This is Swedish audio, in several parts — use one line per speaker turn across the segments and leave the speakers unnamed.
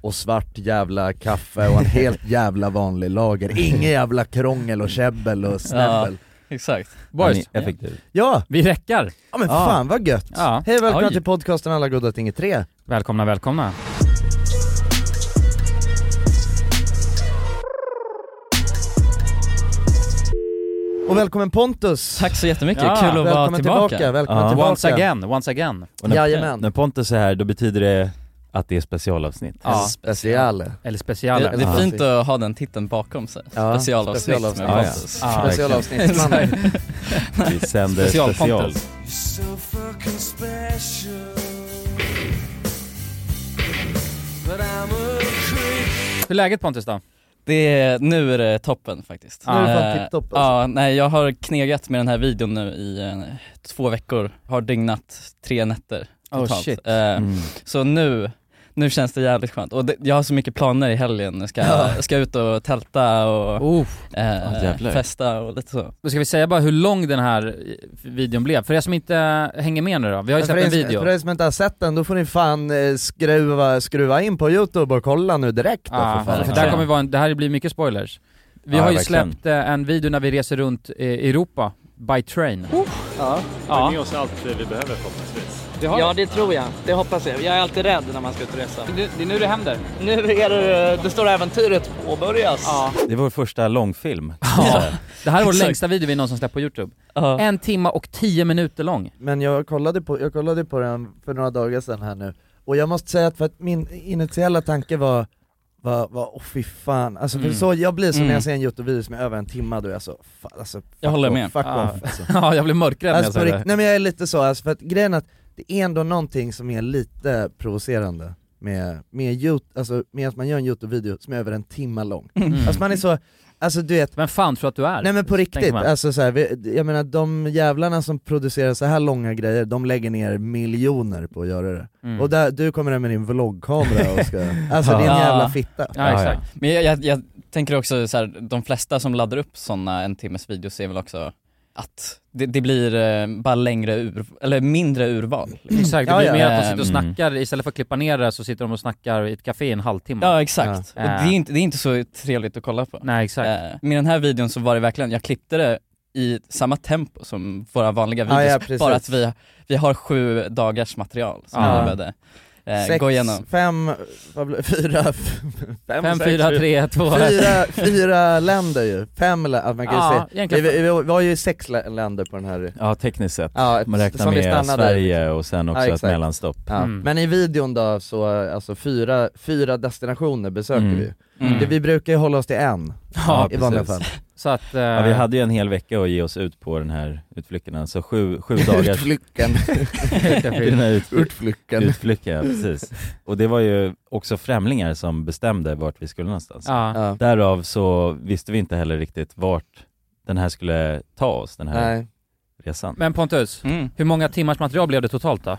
och svart jävla kaffe och en helt jävla vanlig lager. Inget jävla krångel och käbbel och snäbbel.
Exakt.
Boys,
Han är effektiv.
Ja!
Vi räckar.
Ja men
Ja.
fan vad gött!
Ja.
Hej välkomna
Oj.
till podcasten Alla goda ting i tre.
Välkomna, välkomna.
Och välkommen Pontus!
Tack så jättemycket,
Ja,
kul att vara
Välkommen
tillbaka.
tillbaka, välkommen
Ja.
tillbaka!
Once again, once again.
Och när,
Jajamän.
när Pontus är här, då betyder det att det är specialavsnitt.
Ja.
Special.
Eller
det,
specialer.
det
Ja.
är fint att ha den titeln bakom sig.
Ja,
Specialavsnitt med
specialavsnitt.
ja,
Ja,
Specialavsnittsmannen.
Vi sänder
Special
special.
Pontus. Hur är läget Pontus då?
Det är, nu är det toppen faktiskt.
Nu är
det fan
Eh,
tipptopp, alltså.
Ja, nej jag har knegat med den här videon nu i eh, två veckor, har dygnat tre nätter
Oh,
totalt.
shit.
Eh,
Mm.
Så nu, nu känns det jävligt skönt. Och det, jag har så mycket planer i helgen, jag ska, jag ska ut och tälta och
Oh.
eh,
Ah, jävlar.
festa och lite så.
Då ska vi säga bara hur lång den här eh, videon blev. För er som inte eh, hänger med nu då, vi har ju
Men för
släppt en
er- För
video.
er som inte har sett den, då får ni fan eh, skruva, skruva in på youtube och kolla nu direkt då,
Ja,
för fan.
för där kommer vara en, det här blir mycket spoilers. Vi
Ja,
har ju
verkligen.
släppt eh, en video när vi reser runt eh, Europa, by train.
har med oss allt vi behöver förhoppningsvis.
Ja, det tror jag. Det hoppas jag. Jag är alltid rädd när man ska ut och resa.
Det, är nu det händer.
Nu är det, det stora äventyret påbörjas. Ja.
Det är vår första långfilm.
Det här är vår
Exakt.
längsta video vi någonsin släppt på youtube.
Ja.
En timma och tio minuter lång.
Men jag kollade, på, jag kollade på den för några dagar sedan här nu, och jag måste säga att, för att min initiala tanke var var, var, åh fy fan, alltså för
Mm.
så, jag blir så när
Mm.
jag ser en youtube-video som är över en timme, då är jag så, fan, alltså, fuck
Jag håller
off,
med.
Fuck
Ah.
off, alltså.
Ja, jag blev mörkrädd
Alltså
när
på
jag såg
rikt-
det.
nej men jag är lite så, alltså för att grejen är att det är ändå någonting som är lite provocerande med, med, Yout- alltså med att man gör en Youtube-video som är över en timme lång.
Mm.
Alltså man är så, alltså du vet,
Vem fan tror att du är?
nej men på riktigt,
man.
alltså så här, vi, jag menar de jävlarna som producerar så här långa grejer, de lägger ner miljoner på att göra det.
Mm.
Och där, du kommer där med din vloggkamera och ska, alltså din
Ja.
jävla fitta.
Ja,
Ja, ja.
exakt.
Men jag, jag, jag tänker också så här, de flesta som laddar upp sådana en timmes videos är väl också att det, det blir eh, bara längre ur, eller mindre urval.
Mm.
liksom.
Exakt, det
Ja,
blir mer
ja.
att de sitter och
Mm.
snackar, istället för att klippa ner det så sitter de och snackar i ett café i en halvtimme.
Ja exakt,
Ja.
och det är, inte, det är inte så trevligt att kolla på.
Nej exakt.
Eh, Med den här videon så var det verkligen, jag klippte det i samma tempo som våra vanliga
Ja,
videos,
ja, precis.
bara att vi, vi har sju dagars material som
Ja.
vi behövde eh,
Sex,
gå igenom.
fem, vad blir, fyra, fem,
Fem, fyra, tre, två, ett.
fyra, fyra länder ju, fem länder, man kan ju se.
Ja,
Vi,
egentligen.
vi, vi var ju sex lä- länder på den här,
Ja, tekniskt sett.
ja,
Man räknar
som vi
med
stannade där.
Sverige och sen också
Ja,
ett
exakt.
mellanstopp.
Ja.
Mm.
Men i videon då så, alltså fyra, fyra destinationer besöker
Mm.
vi
Mm.
det, Vi brukar ju hålla oss till en
Ja,
i vanliga
precis.
fall
Så att... eh,
Ja, vi hade ju en hel vecka att ge oss ut på den här utflykten, alltså sju, sju dagar
Utflycken,
i den här ut,
utflycken
utflykten, ja, precis. Och det var ju också främlingar som bestämde vart vi skulle någonstans.
ja.
ja.
Därav så visste vi inte heller riktigt vart den här skulle ta oss, den här
Nej.
resan.
Men Pontus,
Mm.
hur många timmars material blev det totalt då?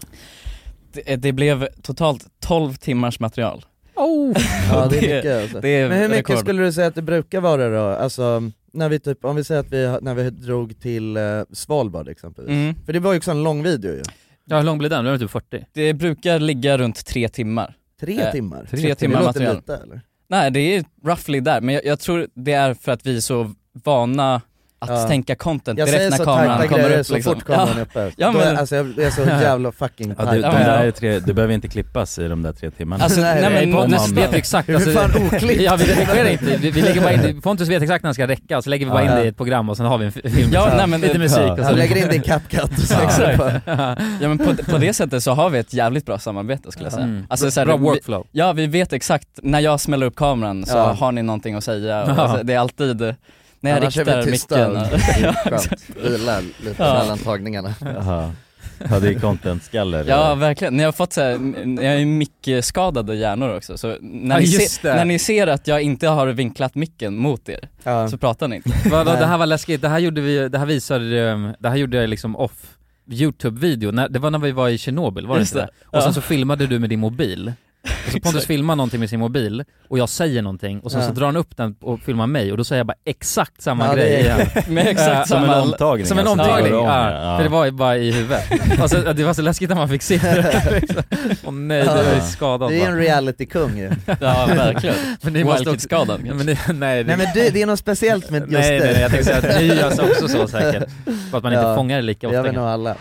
Det, det blev totalt 12 timmars material.
Oh.
ja, det
Det-
är mycket alltså.
Det är
Men hur mycket
rekord.
skulle du säga att det brukar vara då? Alltså, när vi typ, om vi säger att vi, när vi drog till eh, Svalbard exempelvis
Mm.
För det var ju också en lång video ju,
Ja, hur lång blev den? Den var typ 40.
Det brukar ligga runt tre timmar.
tre
Eh,
timmar
tre
Det
timmar
låter
material.
lite, eller?
Nej det är roughly där, men jag, jag tror det är för att vi är så vana att
Ja.
tänka content
Jag
direkt
säger
när
så
kameran
tajta
kommer
grejer
upp
så
liksom.
fort kameran
ja.
är uppe,
Ja,
Då är,
men-
alltså, jag jag är så jävla fucking
Ja, du,
tajt
de
men-
där är tre, du behöver inte klippas i de där tre timmarna.
Alltså, nej,
Nej,
men,
Nej, Pontus
man-
vet ju exakt.
Hur fan oklippt?
Alltså, ja, vi redigerar inte. Vi, vi lägger bara in det. Pontus vet exakt när den ska räcka, så lägger vi bara in
Ja.
det i ett program och sen har vi en fi- film.
Ja, nej, men-
Lite musik och så.
Han lägger in det i CapCut och så
Ja.
ja.
ja, men på, på det sättet så har vi ett jävligt bra samarbete skulle jag säga.
Mm.
Alltså, så här,
Bra
vi-
workflow.
Ja vi vet exakt, när jag smäller upp kameran så
Ja.
har ni någonting att säga, och
Ja.
alltså, det är alltid eh, när jag
Annars är vi
riktar
tysta
micken
och-
och- Ja,
Skönt, vila lite
Ja.
mellan tagningarna
Jaha. Ja, det är content-skaller.
Ja verkligen, ni har fått så här, n- jag är mickskadade hjärnor också så när,
Ja,
ni
just
ser,
det.
när ni ser att jag inte har vinklat micken mot er så pratar ni inte.
Vadå,
Nej.
det här var läskigt, det här gjorde vi, det här visade, ehm, det här gjorde jag liksom off youtube-video, När- det var när vi var i Tjernobyl, var det
Just
inte det?
det.
Och sen
Ja.
så filmade du med din mobil Alltså Pontus
Exakt.
filmar någonting med sin mobil och jag säger någonting och sen så
Ja.
drar han upp den och filmar mig och då säger jag bara exakt samma
Ja, det
grej
är-
igen.
Med
Eh,
exakt
Som
samma...
en omtagning
Som en
alltså.
omtagning,
Ja,
ja.
ja.
För det var ju bara i huvudet. Alltså, det var så läskigt när man fick se det. Åh nej, det är
Ja.
skadad
Du är en
bara.
reality-kung ju.
Ja verkligen.
Men ni måste också...
Wildkid-skadan
Ja,
kanske.
Men ni, nej, det...
Nej men du, det är något speciellt med just
nej,
dig.
nej, jag tänkte säga att ni gör alltså också så säkert. För att man inte
Ja.
fångar det lika
Jag
ofta.
vet nog
kanske.
alla.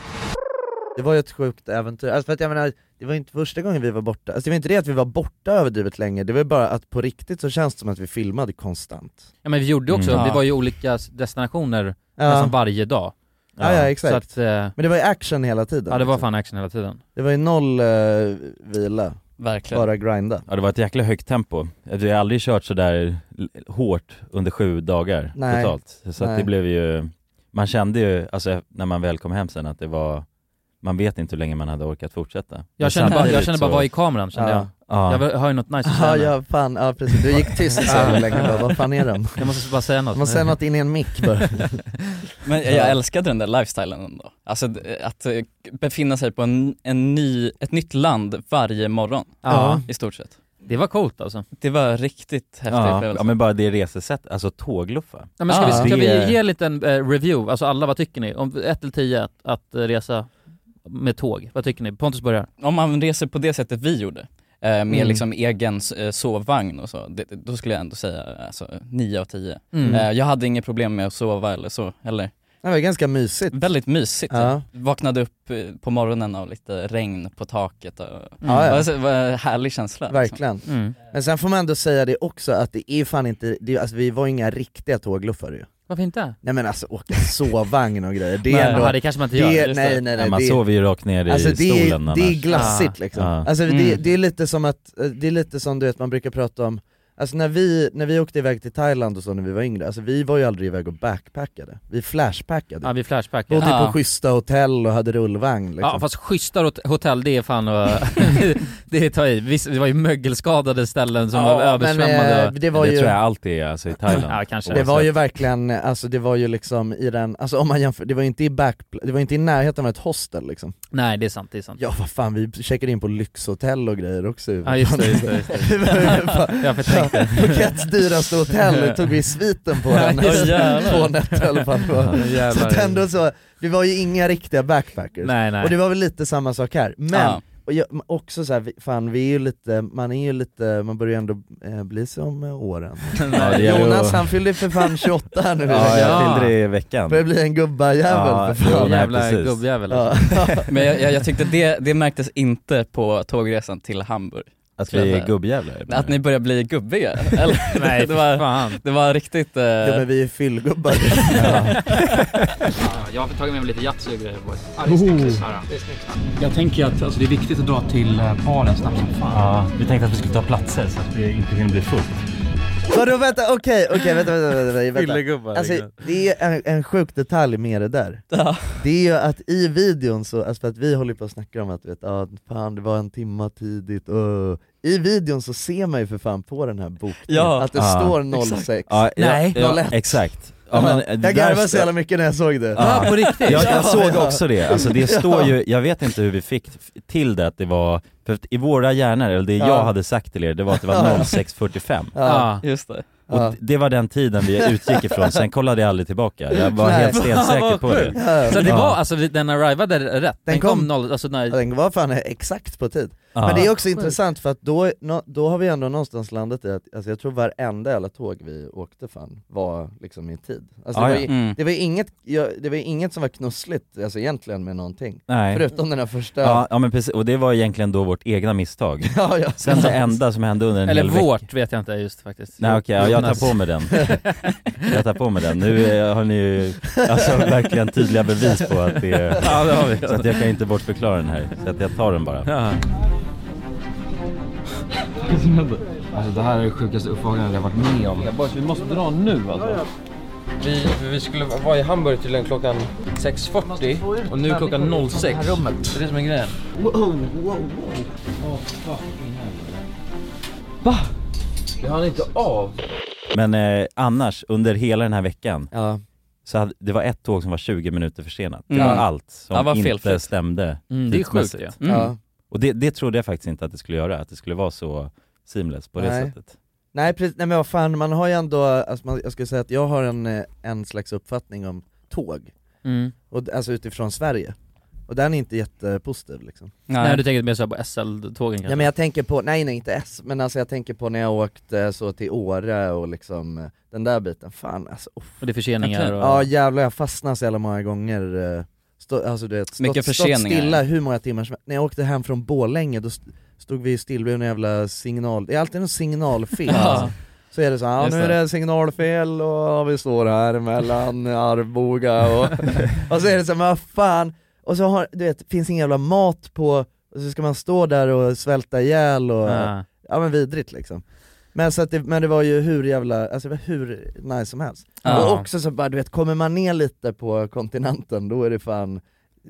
Det var ju ett sjukt äventyr, alltså för att jag menar, det var ju inte första gången vi var borta, alltså det var inte det att vi var borta överdrivet länge, det var ju bara att på riktigt så känns det som att vi filmade konstant.
Ja, men vi gjorde ju också,
Mm.
vi
Ja.
var ju i olika destinationer nästan
Ja,
varje dag.
ja, ja
Så
exakt.
att, eh,
Men det var ju action hela tiden.
ja det var
liksom.
fan action hela tiden.
det var ju noll eh, vila,
Verkligen.
bara grinda.
Ja det var ett jäkla högt tempo. Vi har aldrig kört sådär l- hårt under sju dagar
Nej.
totalt. Så att
Nej.
det blev ju, man kände ju, alltså när man väl kom hem sen att det var, man vet inte hur länge man hade orkat fortsätta. Men
Jag kände bara, jag
samtidigt
kände bara,
så-
vad är kameran kände jag?
Ja.
Ja.
Jag vill- har ju något nice att
Ja,
säga nu.
ja, fan, ja precis. Du gick tyst så här länge bara, vad fan är de?
Jag måste bara säga något.
Man säger något in i en mick bara.
Men jag älskade den där lifestylen ändå. Alltså d- att eh, befinna sig på en, en ny, ett nytt land varje morgon
Ja.
i stort sett.
Det var coolt alltså.
Det var riktigt häftig
Ja.
upplevelse.
ja men bara det resesättet, alltså tågluffa.
Ja, men ska,
Ja.
vi, ska
Det-
vi ge en liten eh, review, alltså alla vad tycker ni? Om 1 till 10 att, att eh, resa med tåg, vad tycker ni? Pontus börjar.
Om man reser på det sättet vi gjorde, eh, med
Mm.
liksom egen eh, sovvagn och så, det, då skulle jag ändå säga alltså, 9 av 10.
Mm.
Eh, jag hade inga problem med att sova eller så heller.
Det var ganska mysigt.
Väldigt mysigt.
Ja.
Vaknade upp eh, på morgonen av lite regn på taket och
Ja, ja.
det var- det var en härlig känsla. liksom.
Verkligen.
Mm.
Men sen får man ändå säga det också att det är fan inte, det, alltså vi var ju inga riktiga tågluffare ju.
Varför inte?
Nej men alltså åka sovvagn och grejer, det är
Nej,
ändå,
ja, det kanske man inte
det,
gör.
är-
just
nej
det.
nej
Nej,
nej,
man
det,
sover ju rakt ner i
alltså, det, är-
stolen
det är
annars.
glassigt
Ah.
liksom.
Ja.
Alltså det,
Mm.
det är lite som att, eh, det är lite som du vet man brukar prata om, alltså när vi, när vi åkte iväg till Thailand och så när vi var yngre, alltså vi var ju aldrig iväg och backpackade, vi flashpackade.
Ja, vi flashbackar.
Bodde
Ja.
Ja.
på schyssta hotell och hade rullvagn liksom.
Ah, Ja fast schyssta hot- hotell det är fan att, det är ta i. Visst, det var ju mögelskadade ställen som var
men, eh,
översvämmade.
det var
det
ju...
tror jag alltid är alltså, i Thailand.
Ja kanske.
Och
Det var
så
ju verkligen, alltså det var ju liksom i den, alltså om man jämför, det var ju inte i back, det var ju inte i närheten av ett hostel liksom
Nej det är sant, det är sant.
Ja vad fan, vi checkade in på lyxhotell och grejer också
Ja, just det, just det, just
det var ju fan-
Jag förtänkte.
Phukets dyraste hotell tog vi sviten på den
Ja, just det.
två nätter eller vad det var. Så att ändå så, det var ju inga riktiga backpackers
Nej nej.
Och det var väl lite samma sak här, men
Ja.
och jag, men också så här, vi- fan vi är ju lite, man är ju lite, man börjar ju ändå eh, bli som eh, åren
Ja, det gäller ju-
Jonas han fyllde ju för fan 28 här nu
Ja.
Ja, jag fyllde det i veckan.
Börjar bli en gubbajävel
Ja,
för
jo,
fan
nej,
Jävla
precis.
gubbjävel.
ja.
alltså.
Men jag, jag, jag tyckte det, det märktes inte på tågresan till Hamburg.
Att vi är gubbjävlar.
Att ni börjar bli gubbiga. Eller?
Nej
det, var,
fan.
det var riktigt... eh,
Jo men vi är fyllgubbar
Jag har tagit med mig lite Yatzy och grejer boys.
Jag tänker att alltså, det är viktigt att dra till eh, baren snabbt som fan.
Ja, vi tänkte att vi skulle ta platser så att vi inte hinner bli fullt.
Vadå vänta, okej, okej vänta vänta vänta, vänta, vänta.
Gubbar,
Alltså det är en, en sjuk detalj med det där Det är ju att i videon så, alltså för att vi håller på att snacka om att du vet, ah, fan det var en timma tidigt, öh. I videon så ser man ju för fan på den här bokningen
Ja,
att det
ja,
står 06
Ah. Ja, ja,
Nej.
ja,
01.
exakt. Ja,
Ja,
men, det där Ah.
Jag garvade så
står-
jävla mycket när jag såg det
Ja på riktigt?
Jag,
Ja,
jag såg
ja.
också det, alltså det står ju, jag vet inte hur vi fick f- till det att det var, för att i våra hjärnor, eller det
Ja.
jag hade sagt till er, det var att det var 06.45
Ja,
Ja.
Just det.
Ah. och
ja.
d- det var den tiden vi utgick ifrån, sen kollade jag aldrig tillbaka, jag var
Nej.
helt stensäker på det.
Ja.
Så det
Ja.
var alltså den arrivade rätt? Den,
Den
kom,
kom
noll, alltså när,
Ja, Den var fan exakt på tid.
Ja.
Men det är också intressant för att då, nå- då har vi ändå någonstans landat i att, alltså jag tror varenda jävla tåg vi åkte fan var liksom i tid. Alltså det,
Ja,
var
Ah, ja.
ju,
Mm.
det, var ju inget, ja, det var ju inget som var knussligt alltså egentligen med någonting,
Nej.
förutom den här första...
Ja, ja men precis, och det var egentligen då vårt egna misstag.
ja, ja.
Sen det enda som hände under en
eller
hel veck-
vårt vet jag inte just faktiskt.
Nej okej, ja, jag
Jonas.
tar på mig den. Jag tar på mig den. Nu eh, har ni ju alltså, verkligen tydliga bevis på att det är...
Ja det har vi.
Så att jag kan inte bortförklara den här, så att jag tar den bara.
Ja.
Alltså det här är det sjukaste uppvakandet jag varit med om. vi måste dra nu alltså. Vi, vi skulle vara i Hamburg till klockan 6.40 och nu är klockan 06. Det är det som är grejen. Va? Det hann inte av.
Men eh, annars, under hela den här veckan,
Ja.
så hade, det var ett tåg som var jugo minuter försenat. Det
Mm.
var allt som
Ja, vad
inte
felfritt.
stämde
Mm, det är sjukt
tidsmässigt.
ju.
Mm.
Ja.
Och det, det trodde jag faktiskt inte att det skulle göra, att det skulle vara så seamless på det
Nej.
sättet.
Nej precis, nej men vad fan, man har ju ändå, alltså man, jag skulle säga att jag har en, eh, en slags uppfattning om tåg,
Mm.
och, d- alltså utifrån Sverige, och den är inte jättepositiv liksom
Nej. du tänker mer såhär på SL-tågen kanske?
Ja men jag tänker på, nej nej inte S, men alltså jag tänker på när jag åkte så till Åre och liksom eh, den där biten, fan alltså uff.
Och det är förseningar och...
Ja jävlar jag fastnade så jävla många gånger, eh, stå, alltså du vet, stått,
Mycket
stått
förseningar.
stilla hur många timmar som När jag åkte hem från Borlänge då st- stod vi still vid en jävla signal, det är alltid någon signalfel alltså. Så är det så, ja,
Just
nu är
det.
det signalfel och ja, vi står här mellan Arboga och, och så är det så, här, men vad fan, och så har, du vet, finns ingen jävla mat på, och så ska man stå där och svälta ihjäl och,
Ah.
ja men vidrigt liksom. Men, så att det, men det var ju hur jävla, alltså det var hur nice som helst.
Ja.
Och också så bara, du vet, kommer man ner lite på kontinenten då är det fan,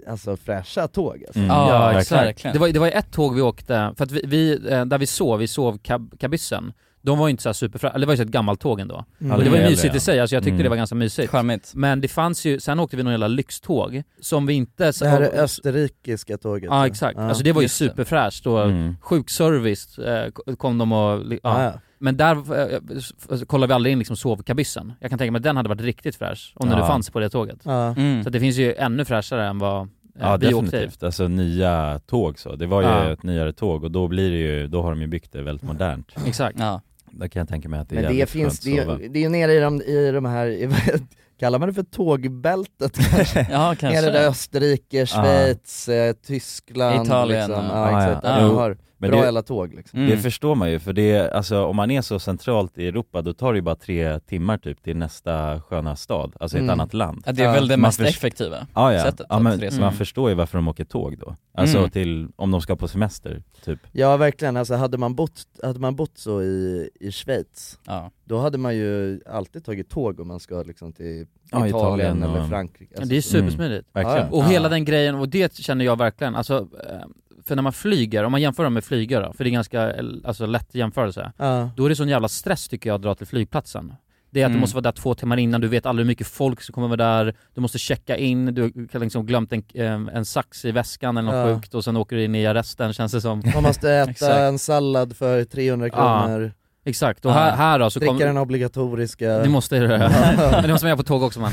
alltså fräscha tåg alltså.
Mm.
Ja,
verkligen.
verkligen.
Det var, det var ju ett tåg vi åkte, för att vi, vi eh, där vi sov, vi sov kab, kabyssen, de var ju inte såhär superfra, eller det var ju så ett gammalt tåg ändå.
Mm.
Ja,
Och det var ju
gäller,
mysigt
ja.
i sig, alltså jag tyckte
Mm.
det var ganska mysigt.
Charmigt.
Men det fanns ju, sen åkte vi någon jävla lyxtåg som vi inte...
Det här är österrikiska tåget.
Ja exakt, alltså det var ju
Just det.
superfräscht och
Mm.
sjuk service eh, k- kom de och... li-
Ja,
Ja.
ja.
Men där eh, f- kollade vi aldrig in liksom sovkabyssen. Jag kan tänka mig att den hade varit riktigt fräsch, om den nu
Ja.
fanns på det tåget.
Ja.
Mm.
Så det finns ju ännu fräschare än vad eh,
Ja
vi åkte i.
definitivt, alltså nya tåg så. Det var ju
Ja.
ett nyare tåg och då blir det ju, då har de ju byggt det väldigt modernt.
Exakt.
Ja.
Där kan jag tänka mig att det är
Men det
jävligt
finns,
skönt
det,
att sova.
är- det är ju nere i de, i de här, i, kallar man det för tågbältet kanske?
ja, kanske.
Nere där Österrike,
Ja.
Schweiz, eh, Tyskland
Italien,
liksom.
ja.
ja,
Ja,
exakt,
ja.
ja, de
Jo.
har
Men
bra
det-
jävla tåg liksom
Mm.
Det förstår man ju, för det, alltså, om man är så centralt i Europa då tar det ju bara tre timmar typ till nästa sköna stad, alltså i ett
Mm.
annat land.
Ja, det är väl det
Man
mest
förs-
effektiva.
Ah, ja.
Sättet
ja,
att
men
resa.
man
Mm.
förstår ju varför de åker tåg då. Alltså
Mm.
till, om de ska på semester, typ.
Ja verkligen, alltså hade man bott, hade man bott så i, i Schweiz,
Ja.
då hade man ju alltid tagit tåg om man ska liksom till
Ja,
Italien,
Italien och-
eller Frankrike Alltså,
det är supersmidigt.
Verkligen.
Ja,
Och
Ja.
hela den grejen, och det känner jag verkligen, alltså, eh, för när man flyger, om man jämför dem med flygare, för det är ganska eh, alltså, lätt jämförelse,
ja.
då är det sån jävla stress tycker jag att dra till flygplatsen. Det är att
Mm.
du måste vara där två timmar innan, du vet aldrig hur mycket folk som kommer vara där, du måste checka in, du har liksom glömt en, eh, en sax i väskan eller något
Ja.
sjukt och sen åker du in i arresten känns det som.
Man måste
Exakt.
äta en sallad för 300
Ja,
kronor,
Exakt, och
Ja.
här, här då så
dricka
kommer...
den obligatoriska
Det måste du göra. Men det måste man göra på tåg också man.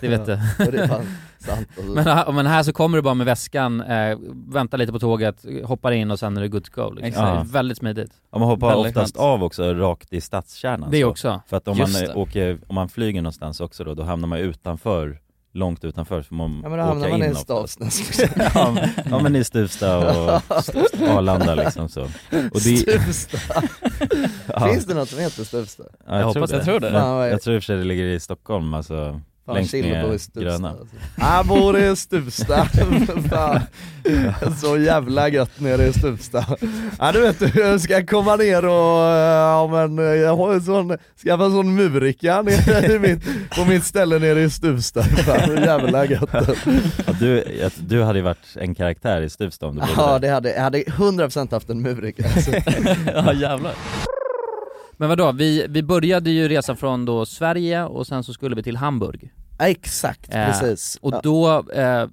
Det vet du.
Och det är fan sant alltså.
Men här, men här så kommer du bara med väskan, eh, väntar lite på tåget, hoppar in och sen är det good to go liksom.
Exakt.
Det är Väldigt smidigt.
Ja, man hoppar
Väldigt
oftast
skönt.
av också rakt i
Alltså.
stadskärnan.
Det
så.
också.
För att om
Just
man,
det.
eh, åker, om man flyger någonstans också då, då hamnar man ju utanför, långt utanför, så får man
Ja men då
åka
hamnar man i
in
en
oftast.
stavsnäs
ja, men- ja men i Stuvsta och Arlanda liksom så. Och det,
Stuvsta,
ja,
finns det något som heter Stuvsta?
ja,
Jag hoppas-
det.
Jag tror det.
Fan, vad-
Jag tror i och för sig det ligger i Stockholm alltså,
Fan,
längst
Chile
ner,
bor i Stuvsta,
gröna.
alltså. Jag bor i Stuvsta, fan. Så jävla gött nere i Stuvsta. Ja du vet, du ska komma ner och, eh, ja men eh, jag har en sån, skaffa en sån murricka nere i mitt, på mitt ställe nere i Stuvsta. Fan, så jävla gött.
Ja, du, jag- du hade ju varit en karaktär i Stuvsta om du bodde
Ja
där.
det hade, jag hade 100% haft en murricka alltså.
ja, jävlar.
Men vadå, vi, vi började ju resan från då Sverige och sen så skulle vi till Hamburg.
Ja, exakt,
Ja.
precis.
Och
Ja.
då... Eh,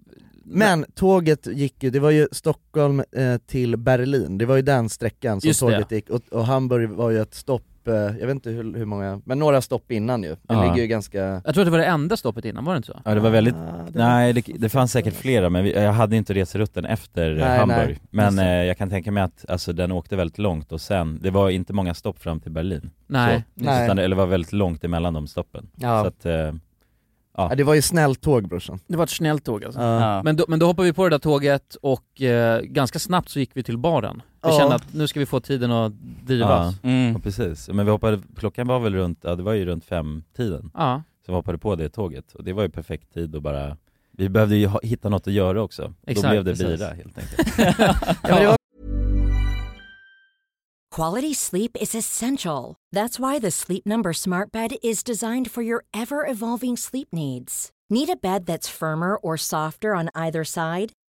Men tåget gick ju, det var ju Stockholm eh, till Berlin, det var ju den sträckan som
Just det.
tåget gick, och, och Hamburg var ju ett stopp, eh, jag vet inte hur, hur många, men några stopp innan ju. Det
Ja.
ligger ju ganska...
jag tror att det var det enda stoppet innan, var det inte så?
Ja det var väldigt,
Ah, det-
nej det, det fanns säkert flera men vi, jag hade inte reserutten efter eh,
Nej,
Hamburg.
nej.
Men
Just
eh, jag kan tänka mig att alltså, den åkte väldigt långt och sen, det var inte många stopp fram till Berlin.
Nej.
Nej.
Utan, det- eller det var väldigt långt emellan de stoppen.
Ja.
Så att, eh,
Ja, det var ju snällt tåg brorsan.
Det var ett snällt tåg alltså.
Ja.
Ja.
Men då, men då hoppade vi på det där tåget och eh, ganska snabbt så gick vi till baren. Vi
Ja.
kände att nu ska vi få tiden att
ja.
drivas.
ja
Mm.
precis. Men vi hoppade, klockan var väl runt, ja, det var ju runt fem tiden
Ja.
Så vi hoppade på det tåget och det var ju perfekt tid och bara vi behövde ju ha, hitta något att göra också.
Exakt,
Då blev det
precis.
bira helt enkelt.
Ja, men det var
Quality sleep is essential. That's why the Sleep Number Smart Bed is designed for your ever evolving sleep needs. Need a bed that's firmer or softer on either side?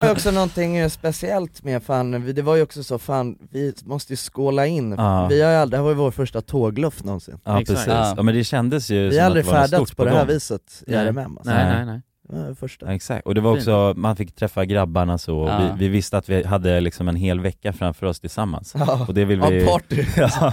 Det var också någonting eh, speciellt med fan, vi- det var ju också så fan, vi måste ju skåla in,
Ja.
vi har ju aldrig, det här var ju vår första tågluff någonsin
Ja
Exakt.
precis, ja. men det kändes ju
Vi
som
har
att
aldrig
det var något
färdats
stort
på det här
gång.
viset i
Nej.
RMM alltså.
Nej, nej,
nej.
Det var det första.
Ja, Exakt, och det var också, man fick träffa grabbarna så, och
Ja.
vi, vi visste att vi hade liksom en hel vecka framför oss tillsammans
Ja.
och det vill
Ja,
vi,
party.
ja,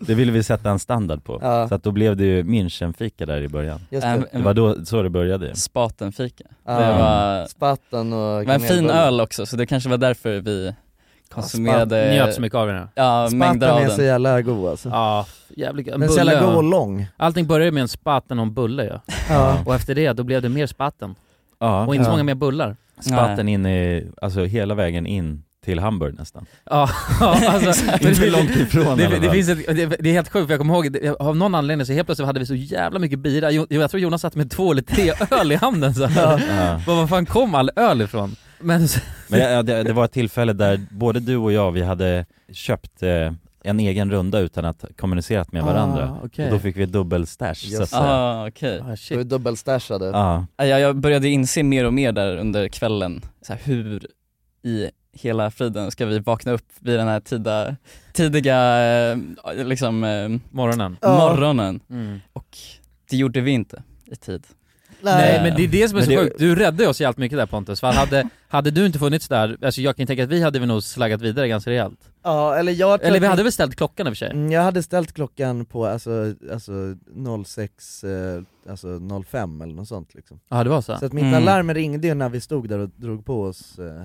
det ville vi sätta en standard på,
Ja.
så att då blev det ju Münchenfika där i början
Just
det.
det. var då, så det började
Spatenfika.
Ja.
Det var,
Spatten och
det var en fin
kanelbullar.
öl också, så det kanske var därför vi konsumerade...
spatten-
njöt så mycket av den, ja.
Ja, mängder
Spatten
av
är så
den.
jävla god alltså
Ja, jävligt
Den är så jävla god och lång
Allting började med en spatt än en bulle ja.
Ja.
Och efter det, då blev det mer spatten.
ja.
Och inte så
Ja.
många mer bullar.
Spatten in i, alltså hela vägen in till Hamburg nästan
Ja, alltså,
Inte långt ifrån i alla
det, det,
fall.
finns ett, det, det är helt sjukt, för jag kommer ihåg, det, av någon anledning så helt plötsligt hade vi så jävla mycket bira, jo, jag tror Jonas satt med två eller tre öl i handen så här.
ja.
Var, var fan kom all öl ifrån? Men,
Men ja, det, det var ett tillfälle där både du och jag, vi hade köpt eh, en egen runda utan att ha kommunicerat med
Ah,
varandra.
okej.
Och då fick vi dubbelstash så att
Just det.
säga.
Ah, okej.
Du är dubbelstashade.
Ja.
Ja, Jag, jag började inse mer och mer där under kvällen, så här, hur i hela friden ska vi vakna upp vid den här tida, tidiga eh, liksom, eh,
Morgonen.
Ja.
morgonen.
Mm.
Och det gjorde vi inte i tid.
Nej
Eh,
men det är det som är så
men
sjukt, du räddade oss jävligt mycket där Pontus, för hade, hade du inte funnits där, alltså jag kan tänka att vi hade väl nog slaggat vidare ganska rejält.
Ja, eller jag tror
Eller vi
att-
hade väl ställt klockan i och för sig?
Mm, Jag hade ställt klockan på alltså, alltså 06, eh, alltså 05 eller något sånt liksom
Ja, det var så.
Så att mitt
Mm.
alarm ringde ju när vi stod där och drog på oss eh,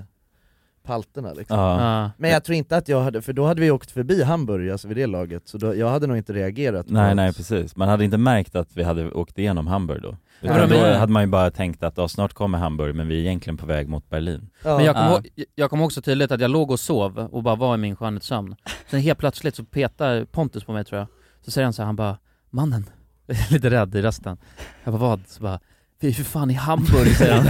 palterna liksom
Ja.
Ja.
Men jag tror inte att jag hade, för då hade vi åkt förbi Hamburg alltså vid det laget, så då, jag hade nog inte reagerat på
Nej
att-
nej precis, man hade inte märkt att vi hade åkt igenom Hamburg då. Utan
Ja,
då
men-
hade man ju bara tänkt att ja, snart kommer Hamburg men vi är egentligen på väg mot Berlin.
Men jag kommer
Ja.
ihåg- jag- jag kommer också tydligt att jag låg och sov och bara var i min skönhetssömn. Sen helt plötsligt så petar Pontus på mig tror jag. Så säger han så här, han bara 'Mannen' Jag är lite rädd i rösten. Jag bara 'Vad?' Så bara 'Vi är för fan i Hamburg' säger han.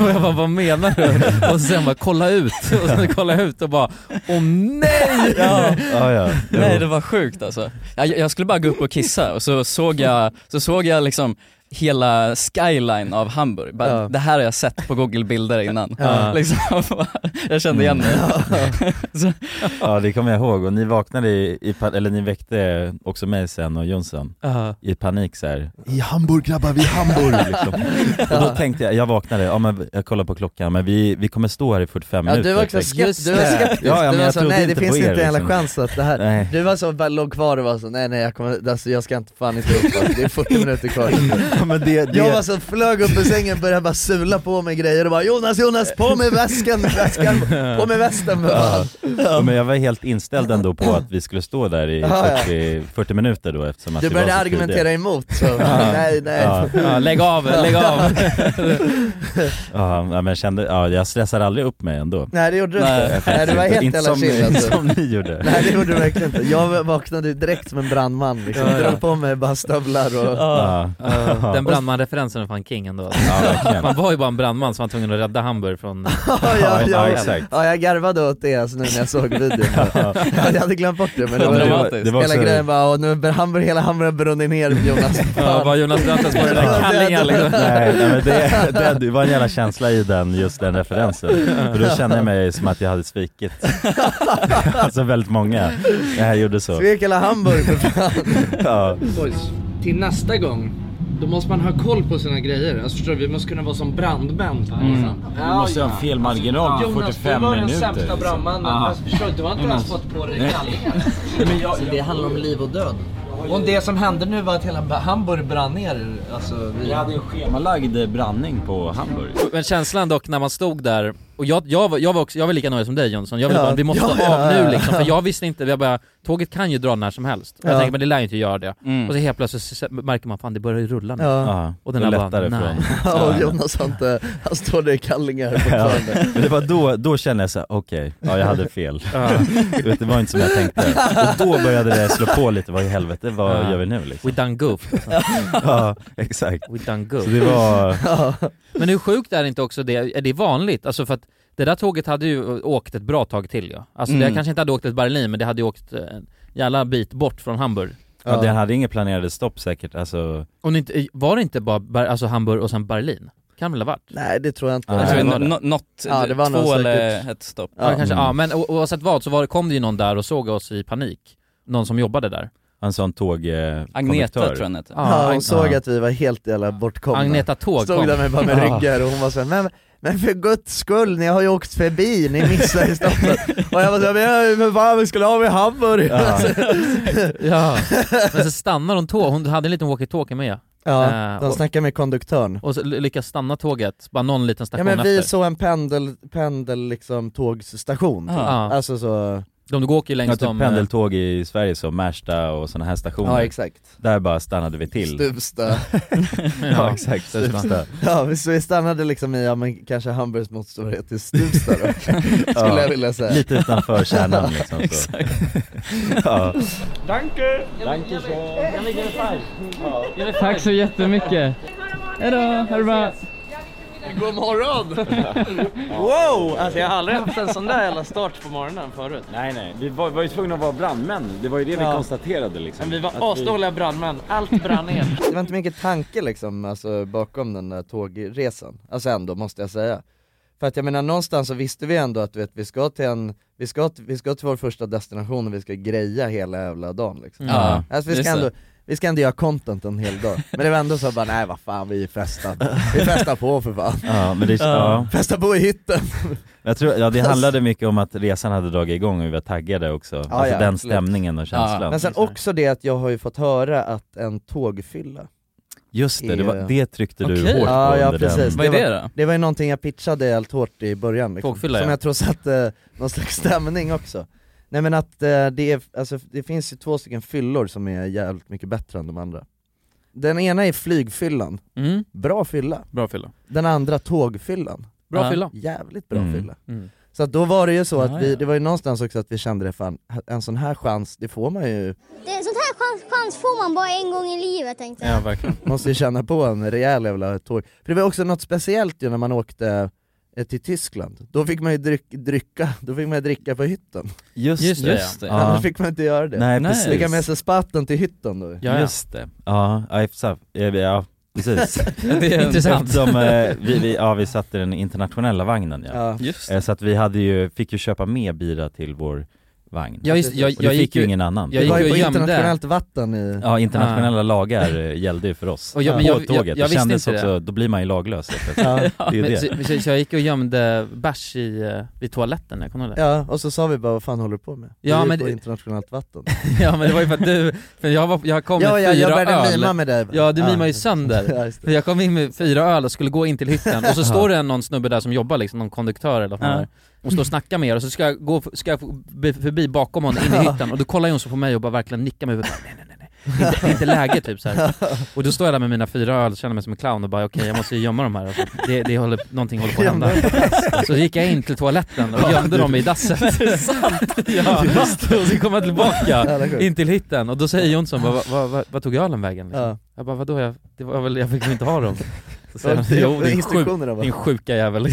och jag bara 'Vad menar du?' Och sen bara 'Kolla ut' och sen kolla ut och bara 'Åh nej!'
Ja.
Ja, ja. Jo.
Nej det var sjukt alltså. Jag, jag skulle bara gå upp och kissa och så såg jag, så såg jag liksom hela skyline av Hamburg. Bara,
Ja.
Det här har jag sett på google bilder innan.
Ja.
Liksom, jag kände igen mig. Så-
Ja det kommer jag ihåg, och ni vaknade i, i pa- eller ni väckte också mig sen och Jonsson
Ja.
i panik så här.
I Hamburg grabbar, vi i Hamburg!
liksom. Och då tänkte jag, jag vaknade, ja men jag kollar på klockan, men vi, vi kommer stå här i 45
Ja,
minuter
du var också
liksom.
skeptisk, du var skeptisk.
Ja,
du
ja, men
var
jag
så,
trodde
nej det
inte på
finns
er,
inte en jävla
liksom.
chans att det här,
Nej.
du var så, bara låg kvar och var så, nej nej jag, kommer, alltså, jag ska inte fan inte upp, alltså, det är 40 minuter kvar
Ja, men det, det...
Jag var så, flög upp ur sängen, började bara sula på mig grejer och bara 'Jonas, Jonas, på med väskan, väskan, på med västen'
Ja. Ja, men jag var helt inställd ändå på att vi skulle stå där i
Ja, ja.
40, 40 minuter då eftersom att
Du
det var
började
så tidigt.
argumentera emot, så
Ja.
nej nej
Ja.
Ja, lägg av, lägg av.
Ja, ja, men jag kände, ja, jag stressade aldrig upp mig ändå
Nej det gjorde du
Nej,
inte,
faktiskt
nej, det var
inte.
helt
Inte
jävla
som
chill
ni-
alltså.
som ni gjorde.
Nej det gjorde du verkligen inte, jag vaknade direkt som en brandman liksom,
Ja, ja.
drog på mig bara stövlar och...
Ja.
Ja. Den
Och-
brandmanreferensen är fan king ändå.
verkligen.
man var ju bara en brandman som var tvungen att rädda Hamburg från...
Ja, ja, ja, ja jag garvade åt det alltså, nu när jag såg videon Jag hade glömt bort det men det var,
Dramatiskt. Det var
hela
så-
grejen bara, och nu är Hamburg, hela Hamburg brunnit ner Jonas
Ja, bara Jonas Röntas på den där kallingen liksom.
Nej, nej men det, det, det var en jävla känsla i den, just den referensen. För då kände jag mig som att jag hade svikit. Alltså väldigt många. Jag gjorde så.
Svek hela Hamburg för fan
Ja.
Boys, till nästa gång, då måste man ha koll på sina grejer. Alltså förstår du, vi måste kunna vara som brandmän.
Mm.
Liksom.
Du måste ha en felmarginal på 45
Jonas, du var
minuter.
den sämsta
liksom.
brandmannen.
Ja.
Alltså, förstår du, du har inte ens
Jonas.
fått på dig
Nej.
kallingar.
Mm. men jag, Det handlar om liv och död Om det som hände nu var att hela Hamburg brann ner alltså, vi...
Jag hade en schemalagd brandning på Hamburg.
Men känslan dock när man stod där, och jag, jag, var, jag, var, också, jag var lika nöjd som dig Jonsson, jag ville
Ja.
bara, vi måste
Ja, ja,
av
ja,
nu
ja.
liksom, för jag visste inte, jag bara, tåget kan ju dra när som helst. Och
Ja.
jag tänkte men det lär ju inte göra det.
Mm.
Och så helt plötsligt så se- märker man fan det börjar ju rulla nu.
Ja. Ja,
Och den där
då lättar
bara,
det
nej.
från.
Ja, och Jonas har inte, han står där i kallingar fortfarande
Men det var då, då kände jag såhär, okej, ja jag hade fel.
Ja.
Du vet, det var inte som jag tänkte. Och då började det slå på lite, vad i helvete, vad
Ja.
gör vi nu liksom?
We done goof.
Ja, exakt.
We done goof.
Så det var...
Men hur sjukt är det inte också det, är det vanligt? Alltså för att det där tåget hade ju åkt ett bra tag till ja. Alltså det
Mm.
kanske inte hade åkt till Berlin, men det hade ju åkt eh, en jävla bit bort från Hamburg.
Ja, den hade inget planerade stopp säkert, alltså...
Och ni inte, var det inte bara Ber- alltså Hamburg och sen Berlin? Kan väl ha varit?
Nej det tror jag inte.
Jag tror det var det. nå- något- två
nog säkert.
eller ett stopp.
Ja,
Ja.
kanske,
Mm.
ja men o- oavsett vad så var, kom det ju någon där och såg oss i panik. Någon som jobbade där.
En sån tåg... Eh, konduktör.
Ja, hon såg
Ja.
att vi var helt jävla bortkomna
Agneta Tåg
Stod
kom.
där med, bara med
Ja.
ryggar och hon var såhär, men, men för guds skull, ni har ju åkt förbi, ni missar ju Stockholm Och jag var såhär, men, jag- men fan vi skulle av i Hamburg
Ja. ja. Men så stannar hon tåg, hon hade en liten walkie-talkie med.
Ja,
Eh,
de
och-
snackar med konduktören.
Och så ly- lyckas stanna tåget, bara någon liten
Ja
station
men vi
efter.
såg en pendel, pendel liksom tågsstation,
Ja.
alltså så...
De åker ju längs
ja, typ
de... eh,
pendeltåg i Sverige som Märsta och sådana här stationer.
Ja, exakt.
Där bara stannade vi till.
Stuvsta
ja exakt, Stuvsta.
Ja vi- så vi stannade liksom i, ja men kanske Hamburgs motsvarighet till Stuvsta då, skulle
Ja.
jag vilja säga
Lite utanför kärnan liksom. Så.
Exakt.
ja.
Danke! Danke
Tack så jättemycket. Hejdå, ha det bra.
God morgon! wow! Alltså jag har aldrig haft en sån där jävla start på morgonen förut.
Nej nej, vi var, var ju tvungna att vara brandmän, det var ju det vi
Ja.
konstaterade liksom.
Men vi
Att
var asdåliga brandmän, allt brann ner.
Det var inte mycket tanke liksom, alltså, bakom den där tågresan, alltså ändå måste jag säga. För att jag menar någonstans så visste vi ändå att du vet, vi ska till en, vi ska, till- vi ska till vår första destination och vi ska greja hela jävla dagen liksom.
Ja,
alltså, vi, ska
just det.
ändå, vi ska ändå göra content en hel dag. Men det var ändå så bara, nej vad fan vi festar, vi festar på för fan.
Ja, men det är- ja.
Festa på i hytten!
Jag tror, ja, det handlade mycket om att resan hade dragit igång och vi var taggade också. alltså
ja,
den
absolut.
stämningen och känslan.
Men sen också det att jag har ju fått höra att en tågfylla
Just det, det, var,
är-
det tryckte du hårt på
ja, ja,
under
precis.
den.
var, Det var ju någonting jag pitchade helt hårt i början liksom,
Tågfylla,
Som
ja.
jag tror satte någon slags stämning också Nej men att eh, det, är, alltså, det finns ju två stycken fyllor som är jävligt mycket bättre än de andra Den ena är flygfyllan,
Mm.
bra fylla
Bra fylla.
Den andra tågfyllan
Bra fylla.
Jävligt bra
Mm.
fylla
Mm.
Så att då var det ju så att
Ah,
vi,
ja.
det var ju någonstans också att vi kände det fan, en sån här chans, det får man ju
Det, sånt här chans, chans får man bara en gång i livet tänkte jag.
verkligen. Måste ju känna på en rejäl jävla tåg. För det var också något speciellt ju när man åkte eh, till Tyskland. Då fick man ju dryck, drycka, då fick man ju dricka på hytten.
Just Just det, just ja. det.
Annars
Ja.
fick man inte göra det.
Nej, Nej. precis.
Fick ha med sig spatten till hytten då.
Just det. Ja, ja, exakt. Ja, ja precis.
Det är intressant.
Eftersom, eh, vi, vi, ja, vi satt i den internationella vagnen ja.
Ja.
Just
Eh, Så att vi hade ju, fick ju köpa med bira till vår vagn.
Ja, just- jag-
och det
jag
fick
gick
ju
ju-
ingen annan.
jag
Det var ju på internationellt vatten i...
Ja, internationella lagar eh, gällde ju för oss.
Och jag-
på
men jag- jag-
tåget.
jag
det
visste
kändes
inte det.
också, då blir man ju laglös. helt
Ja.
plötsligt. Det är ju
Men,
det.
så, så, så jag gick och gömde bärs i, eh, vid toaletten, jag kommer ihåg det.
Ja, och så sa vi bara vad fan håller du på med?
Ja,
Ja,
men
men på
det-
internationellt vatten.
Ja men det var ju för att du, för jag, var, jag kom med
Ja, ja, jag
fyra
började
öl
mima med dig.
Ja du
Ja.
mimar ju sönder,
Ja, just det.
för jag kom in med fyra öl och skulle gå in till hytten och så
Ja.
står det någon snubbe där som jobbar liksom, någon konduktör eller vad
Ja.
ja. Hon står och snackar med er och så ska jag, gå, ska jag förbi- förbi bakom honom in i
Ja.
hytten och då kollar hon så på mig och bara verkligen nickar med huvudet nej, nej, nej, nej. Det, är inte, det är inte läge typ så här. Och då står jag där med mina fyra öl och känner mig som en clown och bara okej jag måste ju gömma de här alltså, det, det håller, någonting håller på att hända. Så gick jag in till toaletten och gömde dem i dasset. Ja, och så kom jag
Jävla
tillbaka
sjukt.
in till hytten och då säger Jonsson bara, "Vad- vad vad- vad tog ölen vägen? Liksom.
Ja.
Jag bara vadå, jag, det var väl, jag fick väl inte ha dem? Så säger han,
Det var
jo din, sjuk,
instruktionerna, va?"
din sjuka jävel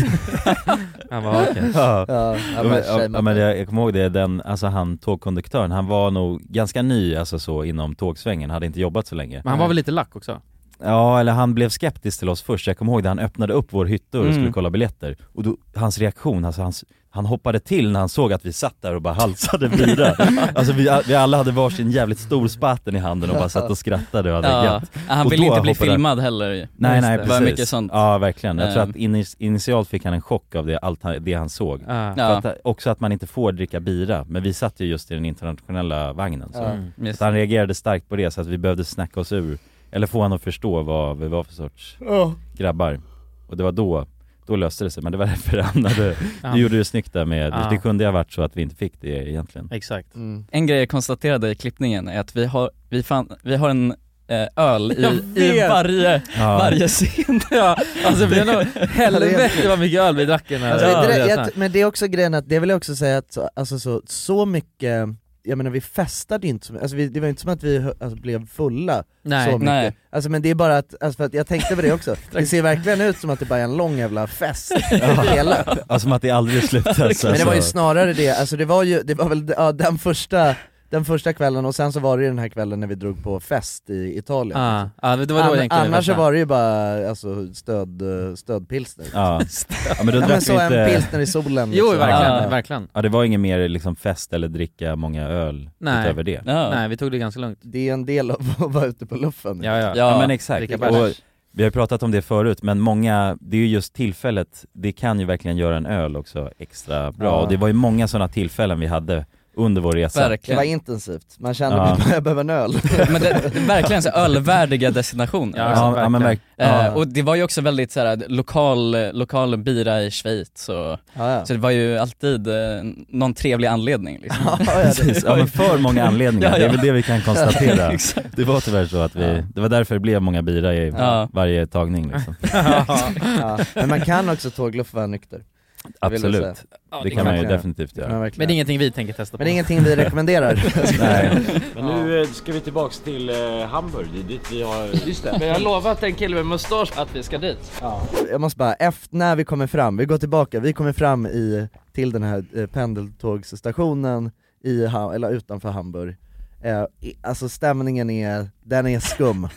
Han bara okej
Ja.
Ja, ja, men tjej,
ja, men jag, jag kommer ihåg det, den, alltså han tågkonduktören, han var nog ganska ny alltså så inom tågsvängen, hade inte jobbat så länge
Men han var väl lite lack också?
Ja, eller han blev skeptisk till oss först. Jag kommer ihåg det, han öppnade upp vår hytta och
Mm.
skulle kolla biljetter. Och då, hans reaktion, alltså hans, han hoppade till när han såg att vi satt där och bara halsade bira. alltså vi, vi alla hade varsin jävligt stor spaten i handen och bara satt och skrattade och hade
Ja.
gött.
Han
Och
ville
då
inte bli
hoppade-
filmad heller ju.
Nej,
Just
nej
det.
precis.
Var mycket sånt.
Ja, verkligen. Jag tror
Ehm.
att inis- initialt fick han en chock av det, allt han, det han såg.
Ja.
För att, eh, också att man inte får dricka bira, men vi satt ju just i den internationella vagnen. Så.
Ja. Mm.
så att han reagerade starkt på det, så att vi behövde snacka oss ur, eller få honom att förstå vad vi var för sorts
Ja.
grabbar. Och det var då, då löste det sig, men det var därför han hade,
Ja.
du gjorde det snyggt där med,
Ja.
det kunde ju ha varit så att vi inte fick det egentligen.
Exakt.
Mm.
En grej jag konstaterade i klippningen är att vi har, vi fan, vi har en eh, öl
Jag
i, i
vet.
varje,
Ja.
varje scen.
Ja, alltså vi har nog, helvete vad mycket öl vi drack i den här
Alltså,
Ja,
det,
det är
jag,
sant.
men det är också grejen att, det vill jag också säga att så, alltså, så, så mycket, jag menar vi festade ju inte, så- alltså, vi, det var inte som att vi alltså, blev fulla
Nej,
så mycket.
nej.
Alltså, men det är bara att, alltså, för att jag tänkte på det också, det ser verkligen ut som att det bara är en lång jävla fest, hela.
Ja, Alltså, som att det aldrig alltså. slutar. så-
Men det var ju
så.
snarare det, alltså det var ju, det var väl ja, den första den första kvällen och sen så var det ju den här kvällen när vi drog på fest i Italien
Ja, ja, det var då egentligen det
Annars så
värsta.
var det ju bara alltså, stöd, eh, stödpilsner
Ja. ja men då drack
så
vi
en
inte...
pilsner i solen liksom.
Jo, verkligen,
ja.
verkligen.
Ja det var ingen mer liksom fest eller dricka många öl
Nej.
utöver det
Nej vi tog det ganska lugnt
Det är en del av att vara ute på luffen
Ja, ja.
Ja, men exakt,
Dricka
och
bärs.
vi har ju pratat om det förut men många, det är ju just tillfället, det kan ju verkligen göra en öl också extra bra
Ja.
och det var ju många sådana tillfällen vi hade under vår resa
Det var intensivt, man kände
Ja.
att jag behöver en öl
Men det, det är verkligen så ölvärdiga destinationer.
Ja,
liksom.
ja, men verk-
Eh,
ja.
Och det var ju också väldigt så här, lokal, lokal bira i Schweiz och,
ja.
så det var ju alltid eh, någon trevlig anledning liksom.
Precis, ja men för många anledningar,
Ja,
det
ja.
är väl det vi kan konstatera
Exakt.
Det var tyvärr så att vi, det var därför det blev många bira i
Ja.
varje tagning liksom
ja. Men man kan också tågluffa nykter vill jag
Absolut,
säga.
Ja,
det
det
kan man ju
verkligen.
definitivt
Ja,
göra.
verkligen.
Men det är ingenting vi tänker testa på.
Men det är ingenting vi rekommenderar.
Nej.
Men nu eh, ska vi tillbaks till eh, Hamburg, det är dit vi har... Just
Men jag har lovat en kille med mustasch att vi ska dit.
Jag måste bara, efter, när vi kommer fram, vi går tillbaka, vi kommer fram i, till den här eh, pendeltågsstationen i, Ha- eller utanför Hamburg eh, i, Alltså stämningen är, den är skum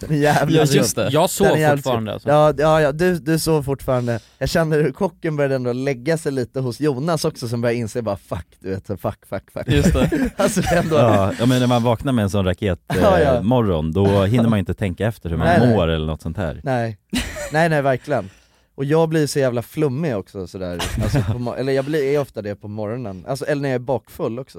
Den är jävligt
Ja, just
skum.
det. Jag sov
Den är jävligt
fortfarande,
skum.
alltså.
Ja, ja, ja du, du sov fortfarande, jag känner hur kocken började ändå lägga sig lite hos Jonas också som började inse bara fuck du vet, så fuck fuck fuck
Just
det Alltså det är ändå,
Ja, ja men när man vaknar med en sån raketmorgon,
Ja,
eh,
ja.
morgon, då hinner man ju inte tänka efter hur man
Nej, nej.
mår eller något sånt här
Nej, nej nej verkligen. Och jag blir så jävla flummig också sådär, alltså, på mo- eller jag blir är ofta det på morgonen, alltså, eller när jag är bakfull också.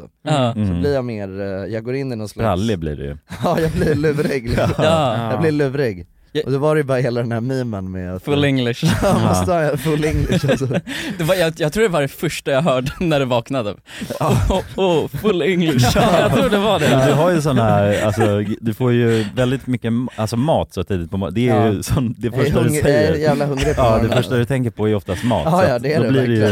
Ja.
Så
Mm.
blir jag mer, eh, jag går in i någon slags...
Sprallig blir du ju
Ja jag blir lurig liksom.
Ja.
Jag blir lurig. Och då var det ju bara hela den här memen med att...
Full English.
ja, måste ha full english alltså.
det var, jag, jag tror det var det första jag hörde när du vaknade. Oh, oh, full English. jag tror det var
Du
det.
har ju sån här, alltså, du får ju väldigt mycket alltså, mat så tidigt på morgonen, det är
Ja.
ju sån, det
Jag är
första du
hungrig- jag är
säger
jävla hungrig på
Ja det
morgonen.
första du tänker på är oftast mat, så
Ja, ja
att
det är
då
det
blir
verkligen.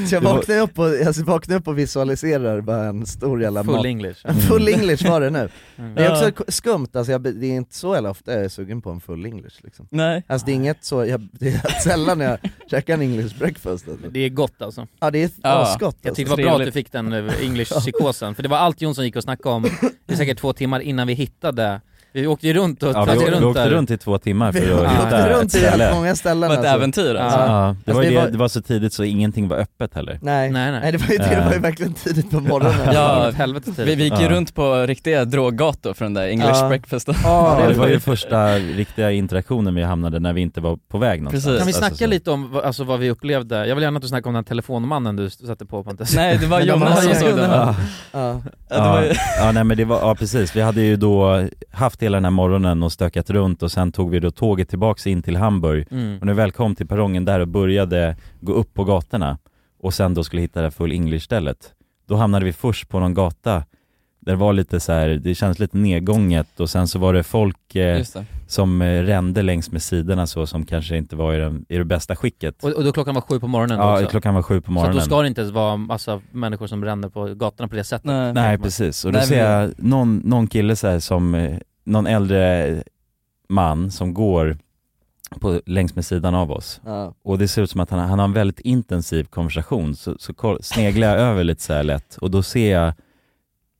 ju
Så jag
det var-
vaknar upp och, alltså, jag vaknar upp och visualiserar bara en stor jävla
Full
mat.
English.
En Full english var det nu.
Mm.
Det är också
Ja.
k- skumt, alltså, jag, det är inte så jävla ofta jag är sugen på en full english liksom.
Nej.
Alltså det är inget så, jag, det är sällan jag käkar en english breakfast alltså.
Det är gott alltså.
Ja det är
Ja.
asgott
Jag tyckte det
alltså.
var bra att du fick den eh, English-psykosen, för det var allt Jonsson gick och snackade om i säkert två timmar innan vi hittade vi åkte ju runt och
Ja, vi,
traskade
åkte- vi åkte
där.
runt i två timmar för
Vi
att
åkte
hitta
runt
ett
i
ställe.
jävligt många ställen, Det var ett alltså. äventyr, alltså.
Ja.
Ja. Alltså,
Det, var ju
det var-
det, det var så tidigt så ingenting var öppet heller
Nej. Nej, nej. Nej, det var ju det, det var ju verkligen tidigt på morgonen.
Ja,
Helvete typ. tidigt.
vi, vi gick ju
Ja.
runt på riktiga droggator för den där English
Ja.
breakfasten.
Ja,
Ja, det var ju första riktiga interaktionen vi hamnade när vi inte var på väg någonstans
Kan vi
Alltså,
snacka
så-
lite om vad- alltså, vad vi upplevde? Jag vill gärna att du snackar om den här telefonmannen du satte på Pontus
Nej, det var
Men
Jonas som
ju-
såg den.
Ja.
Ja.
Ja, det var
Ja,
ju-
ja nej men det var, ja precis, vi hade ju då haft hela den här morgonen och stökat runt och sen tog vi då tåget tillbaks in till Hamburg
Mm.
och när vi väl kom till perrongen där och började gå upp på gatorna och sen då skulle hitta det här full English-stället, då hamnade vi först på någon gata där det var lite så här, det kändes lite nedgånget och sen så var det folk eh,
Just det.
som eh, rände längs med sidorna så som kanske inte var i, den, i det bästa skicket
Och, och då klockan var sju på morgonen då
Ja,
också.
klockan var sju på morgonen.
Så att då ska det inte ens vara massa människor som ränner på gatorna på det sättet.
Nej,
Nej precis, och då
Nej,
ser
men-
jag någon, någon kille så här som, eh, någon äldre man som går på, längs med sidan av oss
Ja.
och det ser ut som att han, han har en väldigt intensiv konversation så, så koll, sneglar jag över lite så här lätt och då ser jag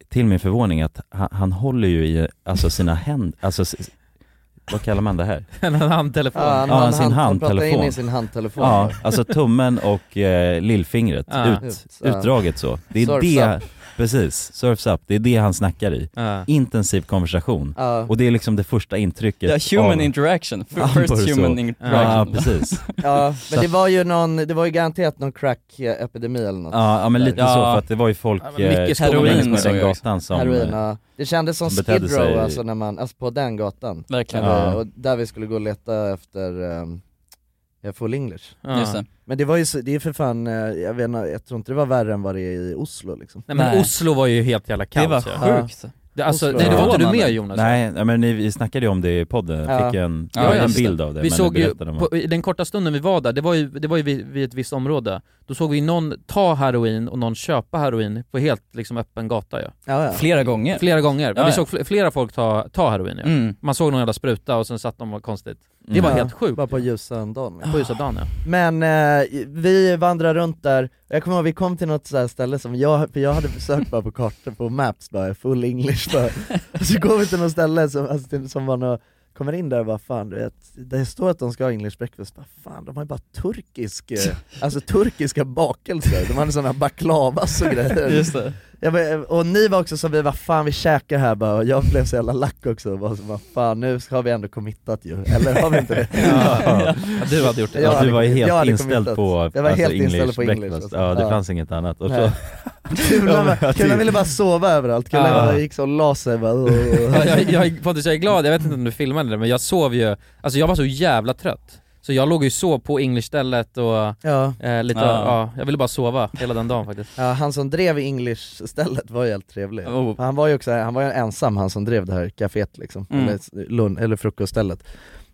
till min förvåning att han, han håller ju i alltså sina händer, alltså s- vad kallar man det här?
En handtelefon.
Ja, han-
ja,
han-
sin
han- han pratar
handtelefon.
in i sin handtelefon.
Ja, alltså tummen och eh, lillfingret
Ja.
ut,
Ah. Ut, ja.
utdraget så. Det är
Surfs
det,
up.
precis, surfs up, det är det han snackar i.
Ja.
Intensiv konversation.
Ja.
Och det är liksom det första
Ja,
intrycket
human
av-
interaction.
Ja,
First
bara så.
human interaction.
Ja, precis.
Ja,
Så
men
att-
det var ju någon, det var ju garanterat någon crack-epidemi eller något
Ja, ja men lite
där.
så för att det var ju folk
Ja,
eh,
men mycket
som
heroin
längs med
såg
den
jag också.
gatan som...
Heroin,
eh,
ja. Det kändes som
som betedde
Skid Row
sig-
alltså, när man, alltså på den gatan.
Verkligen.
När vi-
Ja.
Och där vi skulle gå och leta efter ehm, ja, full english.
Ja. Just det.
Men det var ju så, det är för fan, eh, jag vet inte, jag tror inte det var värre än vad det är i Oslo liksom.
Nej, men Oslo var ju helt jävla kaos.
var
ja.
sjukt.
Det, alltså,
Oslo,
nej, det
ja.
var inte du med Jonas?
Nej, ja, men ni, vi snackade ju om det i podden, jag
Ja.
fick en,
Ja,
jag har en
just
bild av det
Vi
men
såg
du
ju,
berättade om det.
på, i den korta stunden vi var där, det var ju, det var ju vid, vid ett visst område, då såg vi någon ta heroin och någon köpa heroin på helt liksom öppen gata ja.
Ja, ja.
Flera gånger.
Flera gånger,
Ja,
vi
ja.
såg fl- flera folk ta, ta heroin ja.
Mm.
Man såg någon jävla spruta och sen satt de och var konstigt. Det var helt sjukt.
Bara på ljusa dagen. liksom.
På ljusa dagen ja.
Men eh, vi vandrade runt där, jag kommer ihåg vi kom till något så här ställe som jag, för jag hade försökt bara på kartor, på maps bara, full english bara. Och så går vi till något ställe som, alltså, till, som var något, kommer in där och bara fan du vet, det står att de ska ha english breakfast, bara, fan de har ju bara turkisk, eh, alltså turkiska bakelser, de hade sådana baklavas och grejer.
Just det.
Jag bara, eh, och ni var också som vi, vad fan vi käkar här bara, och jag blev så jävla lack också, och bara, så, vad fan nu har vi ändå committat ju, eller har vi inte det?
Mm. Ja. du hade gjort det.
Jag
Ja, du
hade
var
kommit-
helt
jag hade
inställd
kommit
på,
att- Jag var
alltså,
helt
English
inställd på English
breakfast.
alltså.
Ja, det fanns inget annat. Och så-
Nej. Kulan, var- kulan ville bara sova överallt, kulan
typ. Ja.
bara gick så och la sig bara
Ja, jag, jag, Pontus, jag är glad, jag vet inte om du filmade det men jag sov ju, alltså jag var så jävla trött. Så jag låg ju så på English-stället och
Ja.
eh, lite,
Ja.
ja. jag ville bara sova hela den dagen faktiskt.
Ja, han som drev English-stället var ju helt trevlig. Han var ju också, han var ju ensam han som drev det här caféet liksom,
Mm.
eller, lunch, eller frukoststället.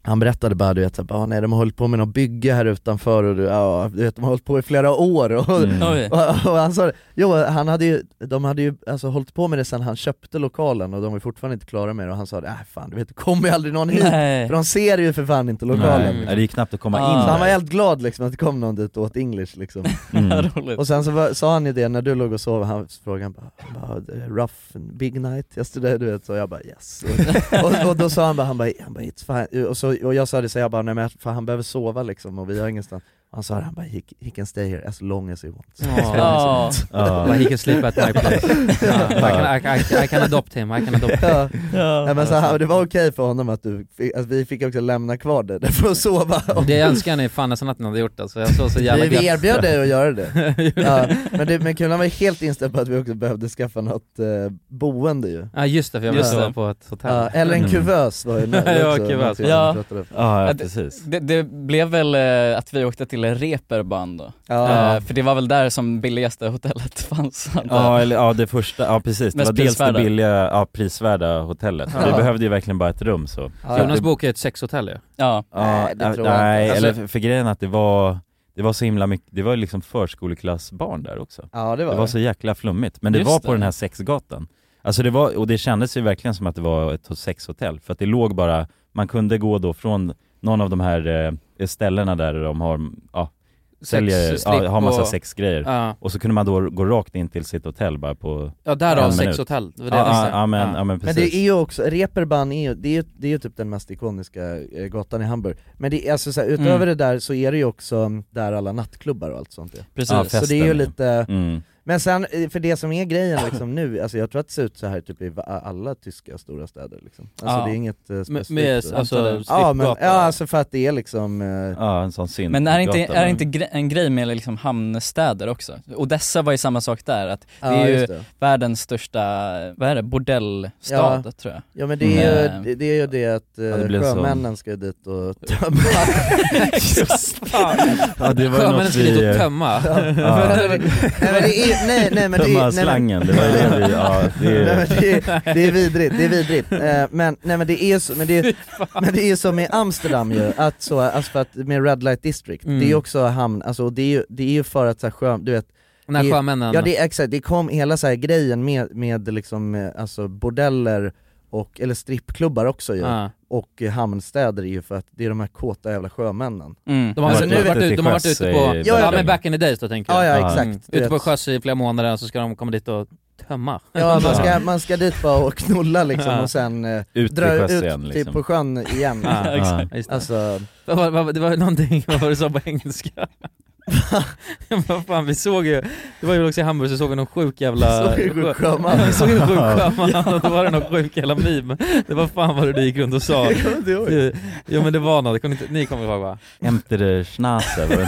han berättade bara du vet, så här, bara, ah, nej, de har hållit på med något bygge här utanför och du, ja, du vet, de har hållit på i flera år och,
Mm. Oj.
och, och han sa det. jo, han hade ju, de hade ju alltså, hållit på med det sen han köpte lokalen och de är fortfarande inte klara med det och han sa det, äh, fan du vet det kommer ju aldrig någon hit,
Nej.
för de ser ju för fan inte lokalen Ah.
Nej, det är knappt att komma in
Så han
där.
var helt glad liksom att det kom någon dit och åt English liksom
Mm.
Och sen så var, sa han ju det när du låg och sov, han frågade han bara, han bara rough, and big night, jag studerade du vet, så jag bara yes och, och, och då sa han bara, han bara, han bara it's fine, och, så, och jag sa det så jag bara nej men jag- för han behöver sova liksom och vi har ingenstans han sa det, han bara he, he can stay here as long as he wants.
Ja. Ja. But he can sleep at my place. Ja. I can- I can- I can adopt him, I can adopt him.
Ja.
Ja.
Nej, men så, han- det var okej för honom att, du, fick- att vi fick också lämna kvar det där för att sova.
Det jag önskar ni fan nästan att ni hade gjort alltså, jag såg så jävla
vi, vi
glatt.
erbjöd dig att göra det. ja, men, det men Kulan var ju helt inställd på att vi också behövde skaffa något eh, boende ju.
Ja, just det, för jag
Just
var
det.
på ett hotell.
Ja, eller en
Mm.
kuvös var ju med.
Ja,
också,
kuvös.
någonting vi
Ja.
pratade om.
det- Det, det blev väl eh, att vi åkte till Reeperbahn då.
Ja.
Eh, för det var väl där som billigaste hotellet fanns.
Ja, eller, ja det första, ja precis, det
Mest
var dels det
prisvärda.
billiga, ja, prisvärda hotellet.
Ja.
Vi behövde ju verkligen bara ett rum så.
Jonas bokade ju ett sexhotell ju.
Ja.
Ja, eh, äh,
Nej, det tror jag
nej
inte.
eller
Alltså-
för, för grejen att det var, det var så himla mycket, det var ju liksom förskoleklassbarn där också.
Ja, det var
det var
det.
så jäkla flummigt, men det
Just
var på
det.
den här sexgatan. Alltså det var, och det kändes ju verkligen som att det var ett sexhotell, för att det låg bara, man kunde gå då från någon av de här eh, ställena där de har, ja,
Sex,
säljer,
strip
ja, har massa
och-
sexgrejer.
Ja.
Och så kunde man då gå rakt in till sitt hotell bara på
Ja, därav
en minut.
sexhotell, det var
Ja,
det jag
ja,
visste.
ja, men,
Ja.
ja men
Men
precis.
det är ju också, Reeperbahn är ju, det är ju, det är ju typ den mest ikoniska eh, gatan i Hamburg. Men det är alltså så här, utöver
Mm.
det där så är det ju också mm, där alla nattklubbar och allt sånt är.
Precis.
så
Ja,
det är ju
festen, ja.
lite,
Mm.
men sen eh, för det som är grejen liksom nu, alltså jag tror att det ser ut så här typ i va- alla tyska stora städer liksom. Alltså
Ja.
det är inget eh,
Med-
specifikt.
med,
så.
alltså,
ja, men, ja
strippgata.
alltså för att det är liksom eh,
Ja, en sån synd.
Men är det inte, är det inte gre- en grej med liksom hamnstäder också? Odessa var ju samma sak där, att det
Ja,
är ju
just det.
världens största, vad är det, bordellstad
ja.
tror jag.
Ja men det är,
Eh,
ju, det, det är ju det att eh,
Ja, det blev så.
sjömännen ska ju dit och tömma
Just det. Ja, det var ju Sjömännen något ska dit och vi, eh, tömma.
Ja.
Ja.
nej, men det är, nej, nej, men det
Tömma
är, nej, men-
slangen, det var ju det vi- ja, det är-
Nej, men det är, det är vidrigt, det är vidrigt. Eh, Men, nej, men det är så, men det är, men det är som i Amsterdam ju, att så, alltså för att med Red Light District,
Mm.
det är ju också hamn, alltså och det är ju, det är ju för att så här, sjö, du vet
När
det är-
sjömännen-
Ja det är exakt, det kom hela så här grejen med, med liksom, eh, alltså bordeller och, eller strippklubbar också ju,
Ja.
och eh, hamnstäder är ju för att det är de här kåta jävla sjömännen
Mm.
De har, varit, varit, ute- de har varit ute på, ja, men back in the days då tänker jag. Mm.
Ja, ja, exakt. Du
Ute
vet.
på sjöss i flera månader så ska de komma dit och tömma.
Ja man ska, man ska dit bara och knulla liksom
alltså. Ja.
och sen eh,
Ut till
dra
sjöss
ut
igen,
till,
liksom.
på sjön igen
Ja,
liksom.
exakt. Just det.
Alltså,
Vad var- vad var- Det var någonting, vad var det du sa på engelska? vad fan, vi såg ju, det var ju också i Hamburg så såg vi någon sjuk jävla...
Såg vi en sjuk sjöman?
Vi såg en sjuk
Ja.
sjöman och då var det någon sjuk jävla meme. Det var fan vad det du gick runt och sa.
Jag kommer inte ihåg.
Det- Jo men det var något, det kunde inte, ni kommer ihåg va?
Ämter Schnase, var det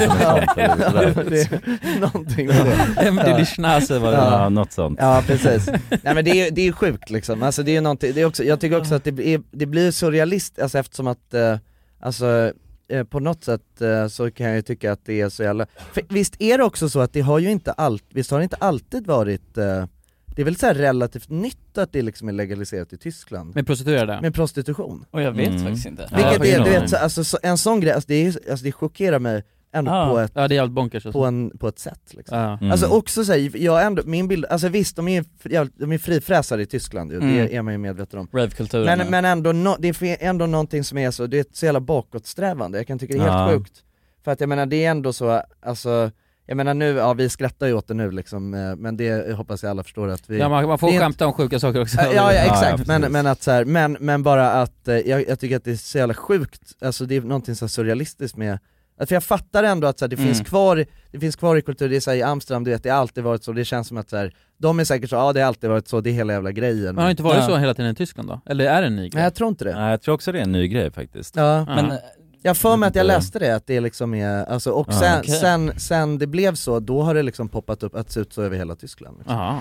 inte något sånt? eller
Ja,
sådär?
det- någonting med det.
Ämter die Schnauze var det.
Ja, något sånt.
Ja precis. Nej men det är ju det är ju sjukt liksom, alltså det är ju någonting, det är också, jag tycker också att det blir, det blir surrealist, alltså eftersom att, eh, alltså eh, på något sätt eh, så kan jag ju tycka att det är så jävla, för, visst är det också så att det har ju inte allt, visst har det inte alltid varit, eh, det är väl så här relativt nytt att det liksom är legaliserat i Tyskland?
Med prostituerade?
Med prostitution.
Och jag vet Mm. faktiskt inte. Ja,
Vilket
ingen
är, du
aning.
vet, så, alltså, så, en sån grej, alltså det, är, alltså det chockerar mig ändå
Ja.
på ett
Ja, det är jävligt bonkers och så.
på, en, på ett sätt liksom.
Ja. Mm.
Alltså också såhär, jag ändå, min bild, alltså visst de är, fri- jävligt- de är frifräsare i Tyskland ju,
Mm.
det är man ju medveten om
Ravekulturen.
men, men ändå, nå- det är ändå någonting som är så, det är så jävla bakåtsträvande, jag kan tycka det är helt
Ja.
sjukt För att jag menar det är ändå så, alltså jag menar nu, ja vi skrattar ju åt det nu liksom, eh, men det jag hoppas jag alla förstår att vi
Ja man, man får
det är
skämta om sjuka saker också.
Ja, ja exakt,
precis.
men, men, att så här, men, men bara att eh, jag, jag tycker att det är så jävla sjukt, alltså det är någonting så här surrealistiskt med att för jag fattar ändå att så här, det, finns
Mm.
kvar, det finns kvar i kultur, det är så här, i Amsterdam, du vet, det har alltid varit så, det känns som att så här, de är säkert så, ja det har alltid varit så, det är hela jävla grejen
Men har det inte varit så hela tiden i Tyskland då? Eller är det en ny grej?
Nej jag tror inte det
Nej, jag tror också det är en ny grej faktiskt.
Ja, men jag får mig att jag
inte-
läste det, att det liksom är, alltså, och
Ja,
sen,
okej.
sen, sen det blev så, då har det liksom poppat upp att se ut så över hela Tyskland liksom.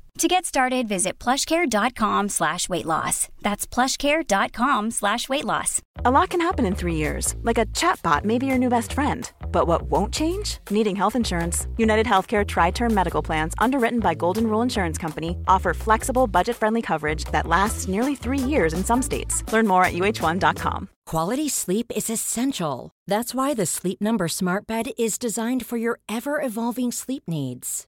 To get started, visit plushcare.com slash weight loss. That's plushcare.com slash weight loss.
A lot can happen in three years, like a chatbot may be your new best friend. But what won't change? Needing health insurance. United Healthcare Tri Term Medical Plans, underwritten by Golden Rule Insurance Company, offer flexible, budget friendly coverage that lasts nearly three years in some states. Learn more at uh1.com.
Quality sleep is essential. That's why the Sleep Number Smart Bed is designed for your ever evolving sleep needs.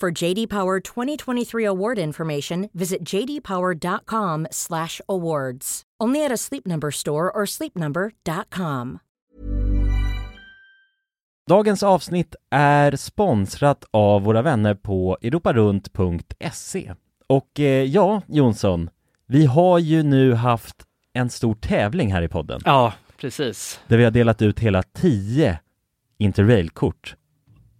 For JD Power 2023 award information, visit jdpower.com/awards. Only at a Sleep Number store or sleepnumber.com.
Dagens avsnitt är sponsrat av våra vänner på europarunt.se. Och eh, ja, Jonsson, vi har ju nu haft en stor tävling här i podden.
Ja, precis.
Där vi har delat ut hela 10 Interrail-kort.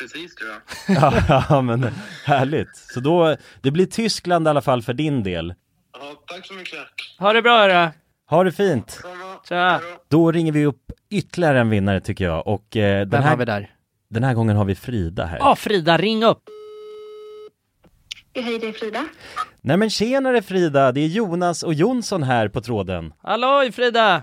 precis tror jag.
ja, ja, men härligt. Så då, det blir Tyskland i alla fall för din del.
Ha det bra hörru.
Ha det fint!
Tja.
Då ringer vi upp ytterligare en vinnare tycker jag och eh, den
Vem
här,
har vi där?
Den här gången har vi Frida här.
Ja Frida, ring upp.
Hej, det är Frida.
Nej men tjenare Frida, det är Jonas och Jonsson här på tråden.
Halloj Frida!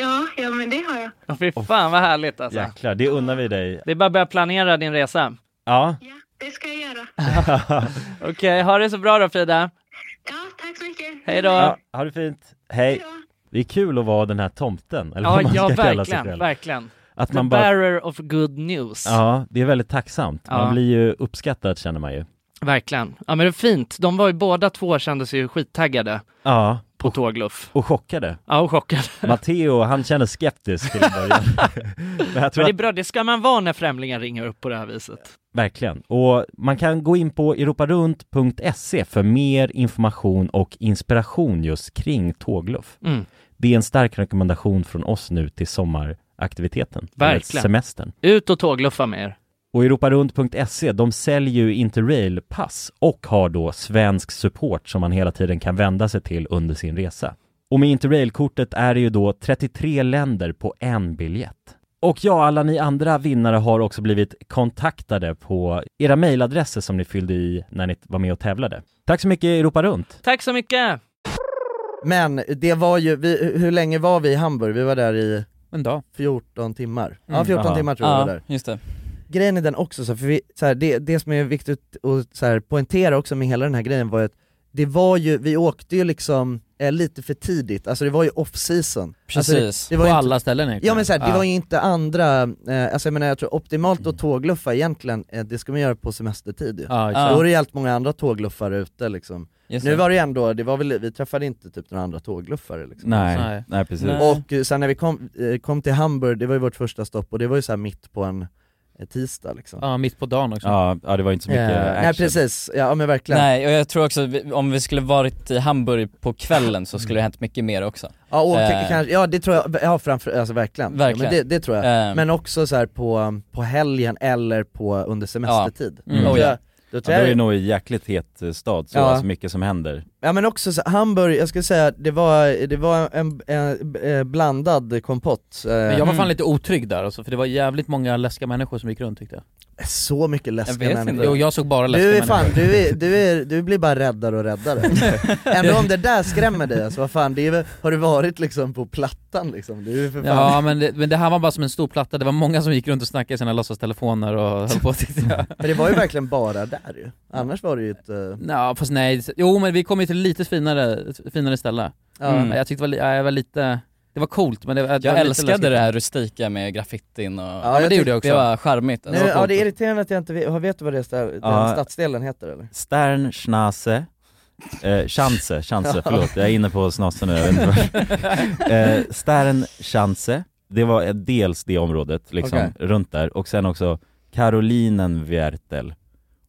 Ja, ja, men det har jag.
Åh, Fy fan vad härligt alltså.
Jäklar, det unnar vi dig.
Det är bara att börja planera din resa.
Ja.
Det ska jag göra.
Okej, ha det så bra då Frida.
Ja, tack så mycket.
Hej då.
ja, ha det fint. Hej. Det är kul att vara den här tomten, eller
Ja,
vad man
ja
ska kalla sig
verkligen,
själv.
verkligen.
Att
The
man bara-
bearer of good news.
Ja, det är väldigt tacksamt. Man
Ja.
blir ju uppskattad känner man ju.
Verkligen. Ja men det är fint. De var ju båda två kändes ju skittaggade
Ja.
på tågluff.
Och chockade.
Ja, och chockade.
Matteo, han känner skeptisk till en början. Men jag tror
Men det är
att-
bra, det ska man vara när främlingar ringer upp på det här viset.
Verkligen. Och man kan gå in på europarunt.se för mer information och inspiration just kring tågluff.
Mm.
Det är en stark rekommendation från oss nu till sommaraktiviteten. eller
Verkligen.
Semestern.
Ut och tågluffa med er.
Och europarunt.se, E, de säljer ju Interrail-pass och har då svensk support som man hela tiden kan vända sig till under sin resa. Och med Interrail-kortet är det ju då 33 länder på en biljett. Och ja, alla ni andra vinnare har också blivit kontaktade på era mejladresser som ni fyllde i när ni var med och tävlade. Tack så mycket Europa Runt!
Tack så mycket!
Men det var ju, vi, hur länge var vi i Hamburg? Vi var där i
en dag.
14 timmar. Ja
Mm.
14
Aha.
timmar tror jag
Ja,
vi var där.
just det.
Grejen är den också, så, för vi, så här, det, det som är viktigt att så här, poängtera också med hela den här grejen var ju att det var ju, vi åkte ju liksom eh, lite för tidigt, alltså det var ju off-season.
Precis,
alltså, det, det var
på
ju
alla ställen egentligen.
Ja men så här, det
Ja.
var ju inte andra, eh, alltså jag menar jag tror optimalt att tågluffa egentligen, eh, det ska man göra på semestertid ju.
Ja, exakt.
Då är det ju allt många andra tågluffar ute liksom.
Just
Nu
det.
var det ju ändå, det var väl, vi träffade inte typ några andra tågluffare liksom.
Nej, Nej. nej, precis. Nej.
Och eh, sen när vi kom, eh, kom till Hamburg, det var ju vårt första stopp och det var ju så här mitt på en eh, tisdag liksom.
Ja, mitt på dagen också.
Ja, ja, det var inte så mycket
Eh,
action.
Nej precis, ja men verkligen.
Nej, och jag tror också vi- om vi skulle varit i Hamburg på kvällen så skulle det hänt mycket mer också.
Ja, och
Eh,
tänk- kanske, ja det tror jag, ja framför, alltså verkligen.
Verkligen.
Ja, men det, det tror jag.
Eh.
Men också så här på, på helgen eller på under semestertid.
Mm.
Då
Oh,
tror
ja.
jag-
Då,
då tror
är
jag-
det nog en jäkligt het eh, stad så,
Ja.
alltså mycket som händer.
Ja men också så, Hamburg, jag skulle säga det var, det var en, en, en blandad kompott eh,
Men jag var
Mm.
fan lite otrygg där alltså, för det var jävligt många läskiga människor som gick runt tyckte jag.
Så mycket läskiga
Jag vet inte. Jo,
människor
jag såg bara läskiga
du är fan,
människor.
du, är, du, är, du blir bara räddare och räddare Ändå om det där skrämmer dig alltså, vad fan, det är, väl- har du varit liksom på plattan liksom? Du är för fan...
Ja men det, men det här var bara som en stor platta, det var många som gick runt och snackade i sina låtsastelefoner och höll på tyckte jag.
Men det var ju verkligen bara där ju, annars var det ju ett... eh,
Ja fast nej, jo men vi kom ju till lite finare, finare ställe.
Ja.
Mm. Jag tyckte det var, li- ja, jag var lite, det var coolt men det var det var
Jag
lite
älskade
läskigt.
det här rustika med graffitin och...
men jag det gjorde jag också.
Det var charmigt.
Nu, ja det är irriterande att jag inte vet, vet du vad det är, stä- den
Ja.
stadsdelen heter eller?
Stern, Schnase, eh, Schanze, Schanze, förlåt, jag är inne på snasen nu, jag vet inte varför. eh, Stern, Schanze, det var eh, dels det området, liksom,
Okej.
runt där, och sen också Karolinen Viertel.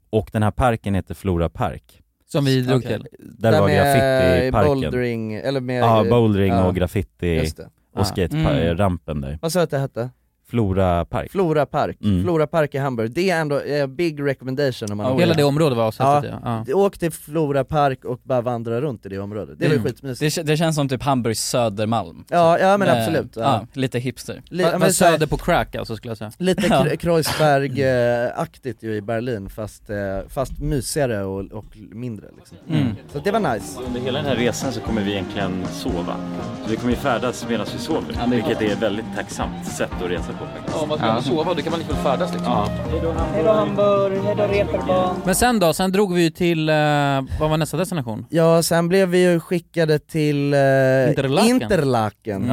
Och den här parken heter Flora Park.
Som vi drog till.
Där, var graffitiparken.
bouldering, eller med...
Ja, bouldering
ja.
och graffiti
Just Mm. det.
och skaterampen där.
Vad sa du att det hette?
Flora Park.
Flora Park,
Mm.
Flora Park i Hamburg, det är ändå eh, big recommendation om man
Ja,
åker.
hela det området var avsattet, ja.
Åk till Flora Park och bara vandra runt i det området, det var ju
Mm.
skitmysigt
det, det känns som typ Hamburgs Södermalm.
Ja, ja, men
Eh,
absolut, ja.
lite hipster.
Li- ja, men Fast så här- söder
på crack alltså skulle jag säga.
Lite
Ja.
Kre- Kreuzberg-aktigt ju i Berlin fast, eh, fast mysigare och, och mindre liksom.
Mm.
Så det var nice
Under hela den här resan så kommer vi egentligen sova. Så vi kommer ju färdas medan vi sover, vilket är ett väldigt tacksamt sätt att resa på faktiskt.
Ja, man ska
Ja.
sova, då kan man liksom färdas liksom.
Ja.
Hejdå Hamburg, hejdå
reeperbahn.
Men sen då, sen drog vi ju till, eh, vad var nästa destination?
Ja, sen blev vi ju skickade till eh,
Interlaken. Mm.
Interlaken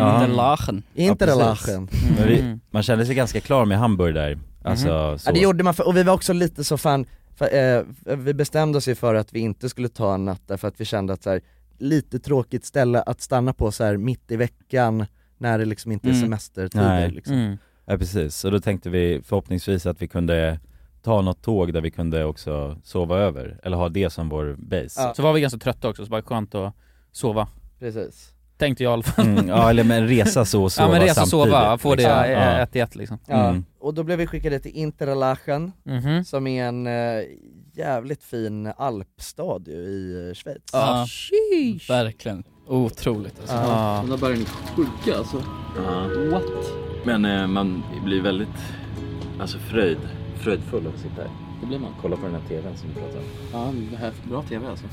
Ja.
Interlaken.
Ja, precis. Men vi, man kände sig ganska klar med Hamburg där,
Mhm.
alltså så.
Ja, det gjorde man, för, och vi var också lite så fan, för, eh, vi bestämde oss ju för att vi inte skulle ta en natt där för att vi kände att så här, lite tråkigt ställe att stanna på så här mitt i veckan när det liksom inte är semestertider
Mm. Nej. Mm.
liksom.
Mm.
Ja precis, och då tänkte vi förhoppningsvis att vi kunde ta något tåg där vi kunde också sova över, eller ha det som vår base.
Så var vi ganska trötta också, så bara skönt att sova.
Precis.
Tänkte jag i alla fall.
Mm, ja, eller men resa så och sova
Ja men resa och sova,
samtidigt,
få det
liksom.
eh,
Ja.
ett i ett liksom.
Ja,
Mm.
och då blev vi skickade till Interlaken,
Mhm.
som är en eh, jävligt fin alpstad ju i eh, Schweiz
Ja, verkligen. Otroligt alltså.
De där bergen är sjuka alltså. What?
Men eh, man blir väldigt, alltså fröjd, fröjdfull av att sitta här.
Det blir man.
Kolla på den här TVn som vi pratade om.
Ja, det här är bra TV alltså.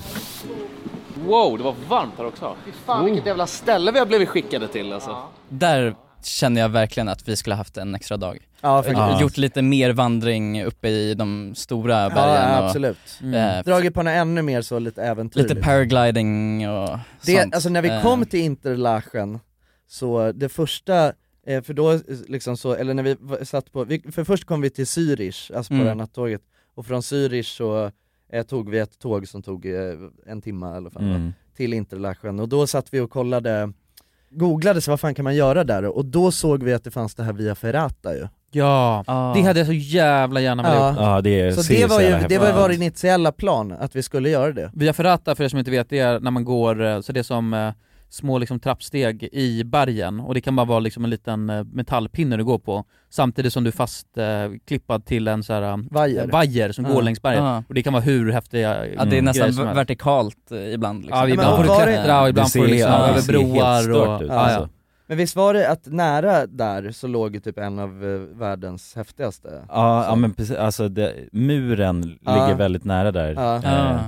Wow, det var varmt här också. Fy fan vilket jävla ställe vi har blivit skickade till alltså.
Där känner jag verkligen att vi skulle haft en extra dag.
Ja, faktiskt.
Eh,
Ja.
Gjort lite mer vandring uppe i de stora bergen.
ja,
och,
absolut.
Mm.
Mm.
eh,
Dragit på något ännu mer så lite äventyr
lite paragliding och
det,
sånt.
Alltså när vi
Eh,
kom till Interlaken, så det första, eh, för då eh, liksom så, eller när vi v- satt på, vi, för först kom vi till Zürich, alltså på
Mm.
det här nattåget, och från Zürich så eh, tog vi ett tåg som tog eh, en timme eller fan,
Mm.
till Interlaken, och då satt vi och kollade, googlade så vad fan kan man göra där? Och då såg vi att det fanns det här Via Ferrata ju
Ja, det hade jag så jävla gärna velat
Ja.
gjort.
Ja, det är-
Så
ser
det var
jävla
ju det var ju
häftigt.
vår initiala plan, att vi skulle göra det
Via Ferrata, för er som inte vet, det är när man går, eh, så det är som eh, små liksom trappsteg i bergen och det kan bara vara liksom en liten eh, metallpinne du går på samtidigt som du är fastklippad eh, klippad till en så här eh,
Vajer.
vajer som
Ja.
går längs berget
Ja.
och det kan vara hur häftiga eh,
Ja, det är nästan
grejer som helst.
vertikalt eh, ibland liksom.
Ja, vi- ibland
men
får du
var det-
klättra och ibland får du liksom över broar och... ja,
Alltså,
ja.
Men visst var det att nära där så låg ju typ en av eh, världens häftigaste?
Ja,
Så-
ja men precis, alltså det, muren
Ja.
ligger väldigt nära där.
Ja.
Eh,
Ja.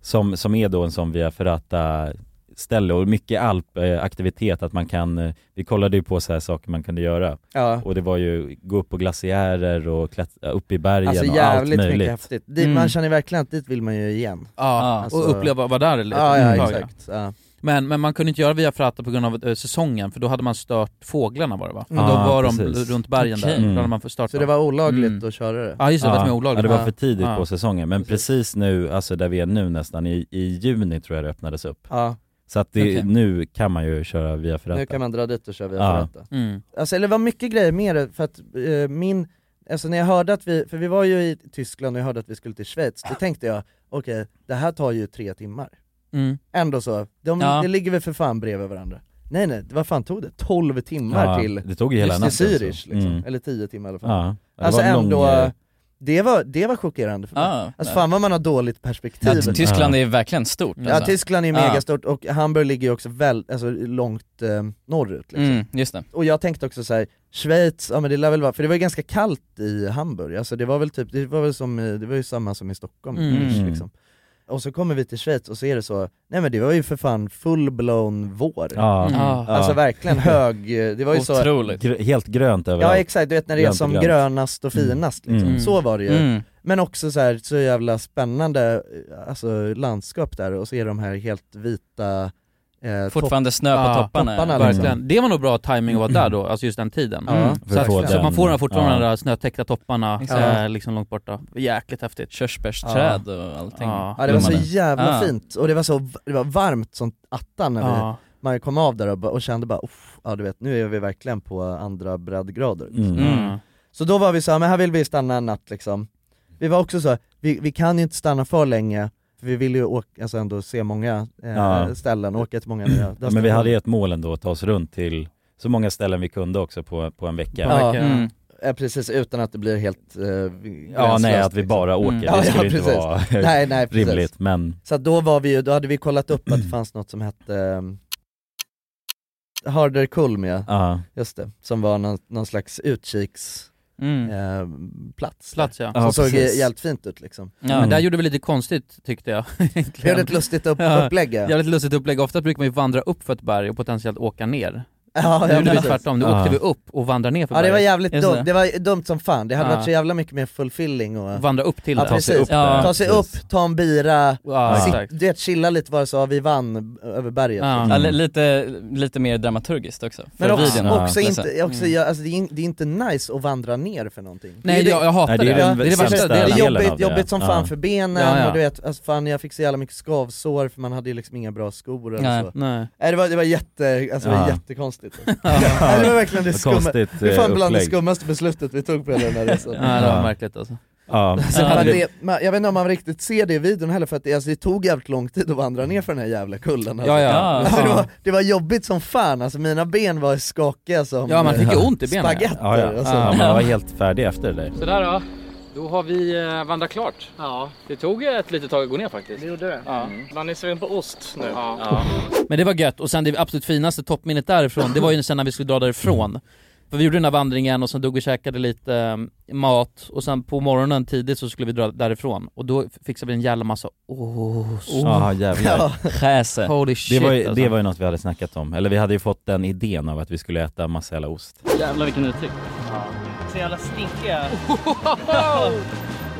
som, som är då en sån Via Ferrata ställe och mycket alpaktivitet att man kan, eh, vi kollade ju på så här saker man kunde göra.
Ja.
Och det var ju gå upp på glaciärer och klättra upp i bergen
Alltså
och allt
jävligt
möjligt.
mycket häftigt, det, man känner verkligen att dit vill man ju igen
Ja,
Alltså-
och uppleva att vara där lite.
Ja, ja
överhuvudtaget.
exakt, ja.
Men, men man kunde inte göra via Frata på grund av eh, säsongen, för då hade man stört fåglarna var det va?
Mm.
Då
Ah,
var de
precis.
runt bergen där,
Okej.
då hade man förstört
Så
dem.
det var olagligt
Mm.
att köra det?
Ja just det, det var till och med olagligt.
Ja, det var för tidigt
Ja.
på säsongen, men precis. nu, alltså där vi är nu nästan, i, i juni tror jag det öppnades upp.
Ja.
Så att det,
Okej.
nu kan man ju köra Via Ferrata.
Nu kan man dra dit och köra via
Ja.
Ferrata.
Mm.
Alltså, eller det var mycket grejer med det, för att eh, min, alltså när jag hörde att vi, för vi var ju i Tyskland och jag hörde att vi skulle till Schweiz, då tänkte jag okej, det här tar ju tre timmar.
Mm.
Ändå så, de,
Ja.
det ligger väl för fan bredvid varandra. Nej nej, vad fan tog det? 12 timmar
Ja,
till,
det tog ju hela
till
natten,
Zürich
så.
liksom,
Mm.
eller 10 timmar i alla
Ja,
fall.
det
alltså
var en
ändå,
lång, eh,
det, var, det var chockerande för mig.
Ja,
alltså
ja.
fan vad man har dåligt perspektiv.
Ja, Tyskland är verkligen stort.
Ja,
alltså.
Tyskland är
Ja.
megastort och Hamburg ligger ju också väl, alltså, långt eh, norrut liksom.
Mm, just det.
Och jag tänkte också så här, Schweiz, ja men det lär väl vara, för det var ju ganska kallt i Hamburg, alltså det var väl typ, det var väl som, i- det var ju samma som i Stockholm
Mm.
ish, liksom. Och så kommer vi till Schweiz och så är det så, nej men det var ju för fan full-blown vår.
Ja. Mm. Ja.
Alltså verkligen hög, det var ju så
Gr- helt grönt överallt.
Ja exakt, du vet när det är
Grönt och
som
grönt.
grönast och
Mm.
finast liksom.
Mm.
så var det ju.
Mm.
Men också så här, så jävla spännande eh, alltså, landskap där och så är de här helt vita eh,
Fortfarande snö på
Ja,
topparna.
verkligen. Det var nog bra timing att vara där då, alltså just den tiden.
Mm.
Så,
För att
att,
få
så att man
den-
får de här fortfarande
ja.
de där snötäckta topparna
Exakt.
eh, liksom långt borta. Jäkligt häftigt.
Körsbärsträd och allting.
liksom. Ja det var så
Mm.
Blommade.
jävla
Ja.
fint, och det var så det var varmt som attan när vi,
Ja.
man kom av där och, bara- och kände bara "Uff, ja du vet nu är vi verkligen på andra breddgrader
Mm. Mm.
Så då var vi så här, men här vill vi stanna en natt liksom Vi var också så här, vi, vi kan ju inte stanna för länge, för vi vill ju åka, alltså ändå se många eh,
Ja.
ställen, åka till många nya
Ja, men vi hade ju ett mål ändå, att ta oss runt till så många ställen vi kunde också på, på en vecka.
Ja, eh, precis, utan att det blir helt eh,
Ja,
gränslöst,
nej att vi
liksom.
bara åker, det skulle inte
precis.
vara
nej, nej, precis.
rimligt men
Så att då var vi ju, då hade vi kollat upp att det fanns något som hette ehm, Harder Kulmia,
Ja.
just det, som var någon, någon slags utkiks ehm, plats,
Plats, Mm. ja.
som
Ja,
såg
precis.
jävligt fint ut liksom
Ja, men där gjorde vi lite konstigt tyckte jag. egentligen.
Gjorde ett lustigt upp-
Ja,
upplägg, ja.
Jävligt lustigt upplägg, ofta brukar man ju vandra upp för ett berg och potentiellt åka ner.
Ja,
nu
ja,
gjorde vi
precis.
tvärtom, nu
Ja.
åkte vi upp och vandrade ner för
Ja det var
berget.
jävligt
Just
dumt, det var dumt som fan, det hade
Ja.
varit så jävla mycket mer fulfilling och
Vandra upp till
ja,
det.
precis. Ta sig upp,
Ja,
ta, sig
precis.
upp ta en bira,
Ja,
sitt,
exakt.
du vet chilla lite bara så, ja, vi vann över berget liksom.
Mm.
Ja, li- lite, lite mer dramaturgiskt också. För
Men också,
videon.
också
Liksom.
inte, också, jag, alltså, det, är in, det är inte nice att vandra ner för någonting
Mm. Nej,
Det är
jag- jag hatar Nej, det är det. den Det är det värsta sämsta
Det är
delen av
jobbigt,
det.
jobbigt som
Ja.
fan för benen,
Ja, ja.
och du vet, alltså, fan jag fick så jävla mycket skavsår för man hade ju liksom inga bra skor eller
Nej,
så
nej.
det var, det var jätte, alltså, det
Ja.
var jättekonstigt Nej, Det var verkligen det
Vad
skumma,
konstigt,
det är fan
eh,
bland det
upplägg.
skummaste beslutet vi tog på hela den här resan
Ja, det var märkligt alltså.
Ja.
Alltså,
Ja.
men det, man, jag vet inte om man riktigt ser det i videon heller för att det, alltså, det tog jävligt lång tid att vandra ner för den här jävla kullen alltså.
Ja, ja.
Alltså, det,
Ja.
var, det var jobbigt som fan, alltså, mina ben var skakiga som
Ja, man fick ju
eh,
ont i benen.
spagetter
ja, ja.
Alltså.
ja, man var helt färdig efter det där.
Sådär då. Då har vi eh, vandrat klart. Ja. Det tog ett litet tag att gå ner faktiskt. Det gjorde det. Ja.
Man är sugen på ost nu.
Men det var gött, och sen det absolut finaste toppminnet därifrån, det var ju sen när vi skulle dra därifrån. För vi gjorde den här vandringen och sen dog och käkade lite eh, mat och sen på morgonen tidigt så skulle vi dra därifrån och då fixade vi en jävla massa ost.
Oh.
Ja jävlar.
Holy shit
det, var ju,
alltså.
det var ju något vi hade snackat om, eller vi hade ju fått den idén av att vi skulle äta massa jävla ost.
Jävlar vilken utsikt. Så jävla stinkiga.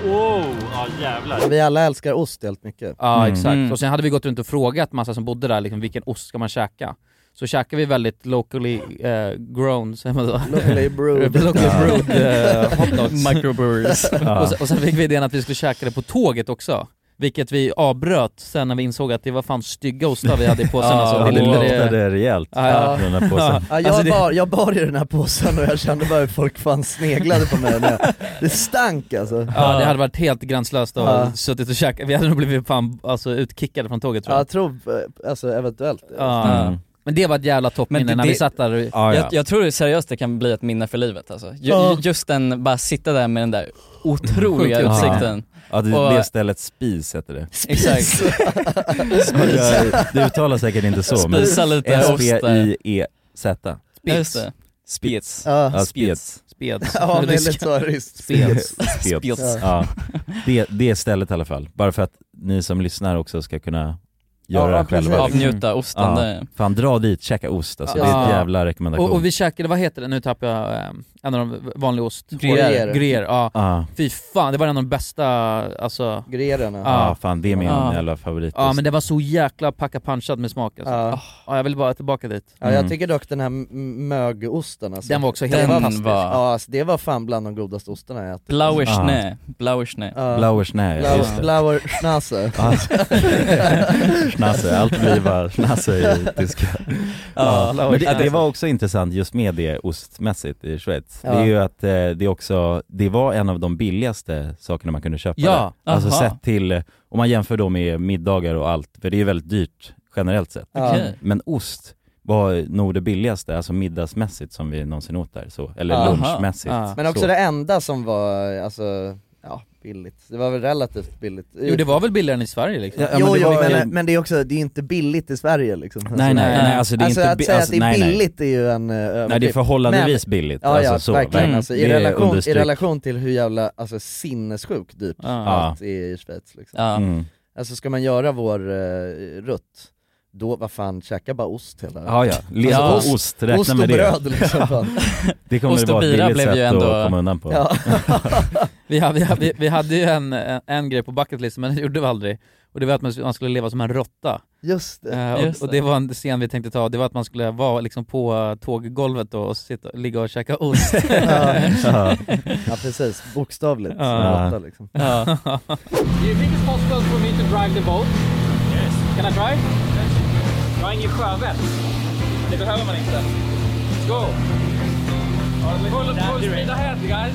Wow, ja jävlar.
Vi alla älskar ost helt mycket
Ja
Mm.
exakt,
Mm.
och sen hade vi gått runt och frågat massa som bodde där liksom, vilken ost ska man käka? Så käkade vi väldigt locally eh, grown, säger man då?
Locally brewed.
locally
Ja.
brewed eh, hot dogs.
Microbreweries. Ja.
och, sen, och sen fick vi idén att vi skulle käka det på tåget också. Vilket vi avbröt sen när vi insåg att det var fan stygga ostar vi hade i påsen
Ja,
alltså.
ja, det
luktade-
luktade rejält från den här påsen.
Ja, jag,
Alltså, det-
bar, jag bar i den här påsen och jag kände bara hur folk fan sneglade på mig när jag, Det stank alltså
Ja det hade varit helt gränslöst att
Ja.
ha suttit och käkat, vi hade nog blivit fan alltså, utkickade från tåget tror
Ja,
jag.
jag tror, eh, alltså eventuellt
Ja.
Mm.
Men det var ett jävla toppminne när vi satt där och...
Ah,
jag, jag tror seriöst det kan bli ett minne för livet alltså. Ju,
Ja.
Just den, bara sitta där med den där otroliga
Ja.
utsikten.
Ja, det,
Och-
det stället Spis heter det.
Exakt.
Jag- Det uttalas säkert inte så, men
Spisa lite ost där.
S-P-I-E-Z.
Ja, just det.
Spets.
Ja.
E Ja, spets.
Spets.
Ja, men lite så ryskt. Spets.
Spets.
Ja.
Ja. Det, det är stället i alla fall. Bara för att ni som lyssnar också ska kunna göra
Ja,
det själva.
precis.
liksom.
Avnjuta osten,
Ja.
det-
Fan dra dit, käka ost alltså. Det är ett jävla rekommendation.
Och, och vi käkade, vad heter det, nu tappar jag eh, en av de vanliga ost...
Gruyère.
Gruyère, ja.
Ah.
Fy fan, det var en av de bästa, alltså...
Gruyerarna.
Ja, fan, det är min jävla favoritost.
Ja men det var så jäkla packa punchad med smak alltså.
Ja.
Ja. jag vill bara tillbaka dit.
Ja, jag tycker dock den här m- mögosten alltså.
Den var också helt
Den
fantastisk.
Var... Ja, alltså, det var fan bland de godaste ostarna jag ätit.
Blauer
Ah.
Schnee. Blauer Schnee.
Ja.
Blauer Schnee, ja,
Blau-
just det.
Blauer Schnase.
Ja. Alltså. Schnasse, allt blir bara schnasse i tyska.
Ja,
Ja, men det,
Schnase.
det var också intressant just med det ostmässigt i Schweiz.
Ja.
Det är ju att eh, det också, det var en av de billigaste sakerna man kunde köpa
Ja,
där. Alltså
aha.
sett till, eh, om man jämför då med middagar och allt, för det är ju väldigt dyrt generellt sett.
Ja. Okej.
Men ost var nog det billigaste, alltså middagsmässigt som vi någonsin åt där, så, eller
Aha.
lunchmässigt.
Men också
så.
det enda som var, alltså, ja, billigt. Det var väl relativt billigt.
Jo det var väl billigare än i Sverige liksom?
jo, men, jo, men, men det är också, det är inte billigt i Sverige liksom.
Nej, nej, nej, alltså det är inte
att
bi-
säga
alltså,
att det är
nej, nej.
billigt är ju en eh, överdrift.
Nej, det är förhållandevis
Men-
billigt,
Ja, ja
alltså så,
verkligen.
verkligen.
Alltså, i,
Det är
relation, I
understryk.
relation till hur jävla, alltså sinnessjukt dyrt
Ja.
allt är i Schweiz liksom.
Ja. Mm.
Alltså ska man göra vår eh, rutt, då vad fan, käka bara ost hela
Ja, ja. Lev på ost, räkna
Alltså, ost och
med det.
bröd liksom. fan.
Det kommer
Ost
det
och
vara ett
bira
billigt
blev ju
sätt
ändå-
att komma undan på.
Ja.
vi, ha- vi, ha- vi, vi hade ju en, en, en grej på bucket list, men det gjorde vi aldrig. Och det var att man, man skulle leva som en råtta.
Just det.
Eh, och,
Just
och
det.
det var en scen vi tänkte ta, det var att man skulle vara liksom på eh, tåggolvet då och sitta, ligga och käka ost.
ja. ja precis, bokstavligt. som en
Ja.
råtta, liksom.
Ja.
Do you think it's possible for me to drive the boat? Yes. Can I drive? Jag har ingen sjövett. Det behöver man inte. Let's go! Full, full speed ahead guys!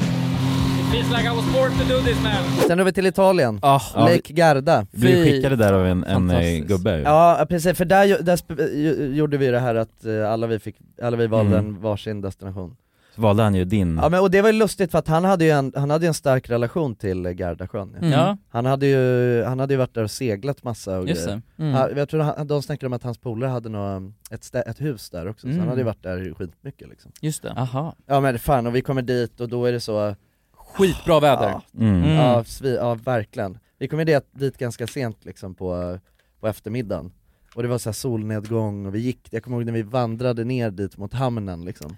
It feels like I was born to do this man!
Sen över till Italien,
Ah,
Ja, vi-
Lake Garda.
Vi blev skickade där av en, en eh, gubbe. ju.
Ja precis, för där, ju- där sp- ju- gjorde vi det här att eh, alla vi, fick, alla vi valde
Mm.
en varsin destination.
Så valde han ju din.
Mm.
Ja men och det var ju lustigt för att han hade ju en, han hade ju en stark relation till eh, Gardasjön
Mm. Ja.
han, hade ju, han hade ju varit där och seglat massa och
Just
grejer.
det. Mm.
Ja, Jag tror han, de snackade om att hans polare hade nå, ett, stä, ett hus där också, så han
Mm.
hade ju varit där skitmycket liksom.
Just det.
Aha.
Ja men fan, och vi kommer dit och då är det så
Skitbra väder.
Ja,
Mm. Mm.
ja, svi, ja verkligen. Vi kom ju dit, dit ganska sent liksom på, på eftermiddagen och det var så här solnedgång och vi gick, jag kommer ihåg när vi vandrade ner dit mot hamnen liksom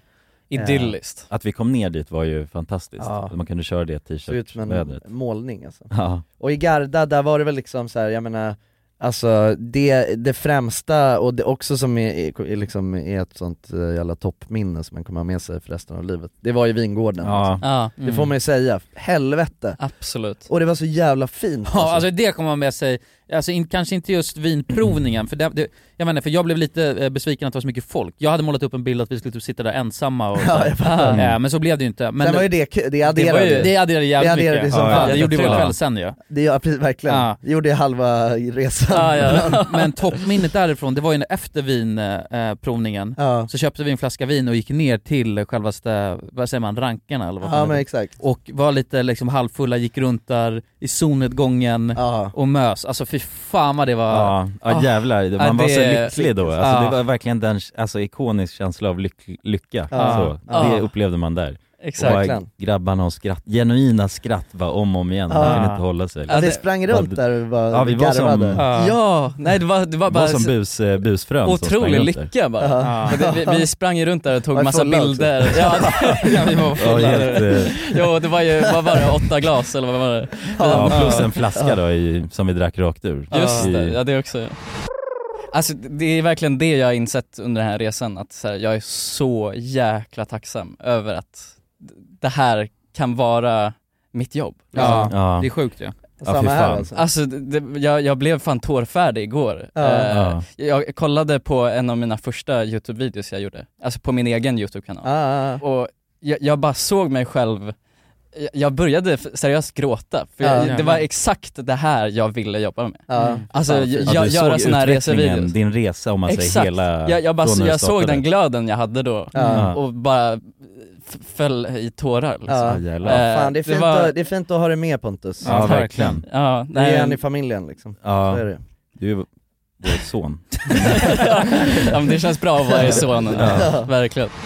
Eh,
Att vi kom ner dit var ju fantastiskt.
Ja.
Att Man kunde köra det
Såg ut som en
t-shirt-vädret.
målning alltså.
Ja.
Och i Garda, där var det väl liksom så här, jag menar Alltså det, det främsta, och det också som är, är, liksom är ett sånt eh, jävla toppminne som man kommer ha med sig för resten av livet, det var ju vingården
Ja.
alltså.
Ja,
Det
mm.
får man ju säga,
Alltså.
helvete!
Absolut
Och det var så jävla fint
Ja, alltså det kommer man med sig, alltså in, kanske inte just vinprovningen, för, det, det, jag menar, för jag blev lite eh, besviken att det var så mycket folk. Jag hade målat upp en bild att vi skulle typ sitta där ensamma och
Ja, jag fattar.
Ah, eh, men så blev det ju inte. Men
Mm. Sen var ju det kul, det adderade
det, var ju, det adderade jävligt
Det adderade
mycket.
som
Ja,
fan.
Det gjorde vi
Jättekul.
själv sen ju.
Det, ja, precis, verkligen,
Ja.
det gjorde jag halva resan
Men, men toppminnet därifrån, det var ju när efter vinprovningen, eh, så köpte vi en flaska vin och gick ner till självaste, vad säger man, rankarna eller vad
Ja,
fan
men
det-
exakt.
Och var lite liksom halvfulla, gick runt där i solnedgången och mös. Alltså fy fan vad det var...
Ja, ja
Ah.
jävlar. Man
Ja,
var
det-
så lycklig då. Alltså,
Ja.
Det var verkligen den alltså, ikonisk känsla av lyck, lycka.
Ja.
Så,
Ja.
Det upplevde man där.
Exakt.
Och bara
Verkligen.
grabbarna och skratt, genuina skratt bara om och om igen. Man
Ja.
kunde inte hålla sig.
Ja, det sprang runt där och bara
Ja, vi var som,
garvade. Ja.
Ja, nej det var, det var
var
bara
som bus, eh, busfrön som sprang
otrolig
runt där.
lycka bara.
Ja.
Men det- Vi, vi sprang ju runt där och
Var
tog
vi
massa
fulla också?
bilder. Ja, ja, vi var fulla.
Ja, helt, eh.
Jo, det var ju, vad var det, åtta glas eller vad var det?
Ja, plus en flaska då i, som vi drack rakt ur.
Just
I-
det, ja det också. Alltså det är verkligen det jag har insett under den här resan, att så här, jag är så jäkla tacksam över att d- det här kan vara mitt jobb.
Ja, Ja. det är sjukt, ja. Ja, Samma fy här, fan. alltså.
Alltså det, det- jag, jag blev fan tårfärdig igår.
Ja.
Eh,
Ja.
Jag kollade på en av mina första YouTube-videos jag gjorde, alltså på min egen YouTube-kanal.
Ah, ah, ah.
Och jag, jag bara såg mig själv jag började f- seriöst gråta, för
Ja.
jag, det var exakt det här jag ville jobba med.
Ja.
Alltså
Ja,
jag,
fy. Ja,
jag,
du
göra
såg
sådana här
utvecklingen,
resevideos.
din resa, om man säger,
exakt.
hela-
jag, jag, bara,
från när du
jag såg
startade.
den glöden jag hade då
Ja.
och bara f- föll i tårar liksom.
Ja.
Eh,
Ja, fan, det, är fint
var-
att, det är fint att ha dig med Pontus.
Ja, Ja, verkligen. verkligen.
Ja,
det
nej.
är en i familjen liksom.
Ja,
Så är det.
du är vår son.
ja men det känns bra att vara i sonen,
Ja.
verkligen.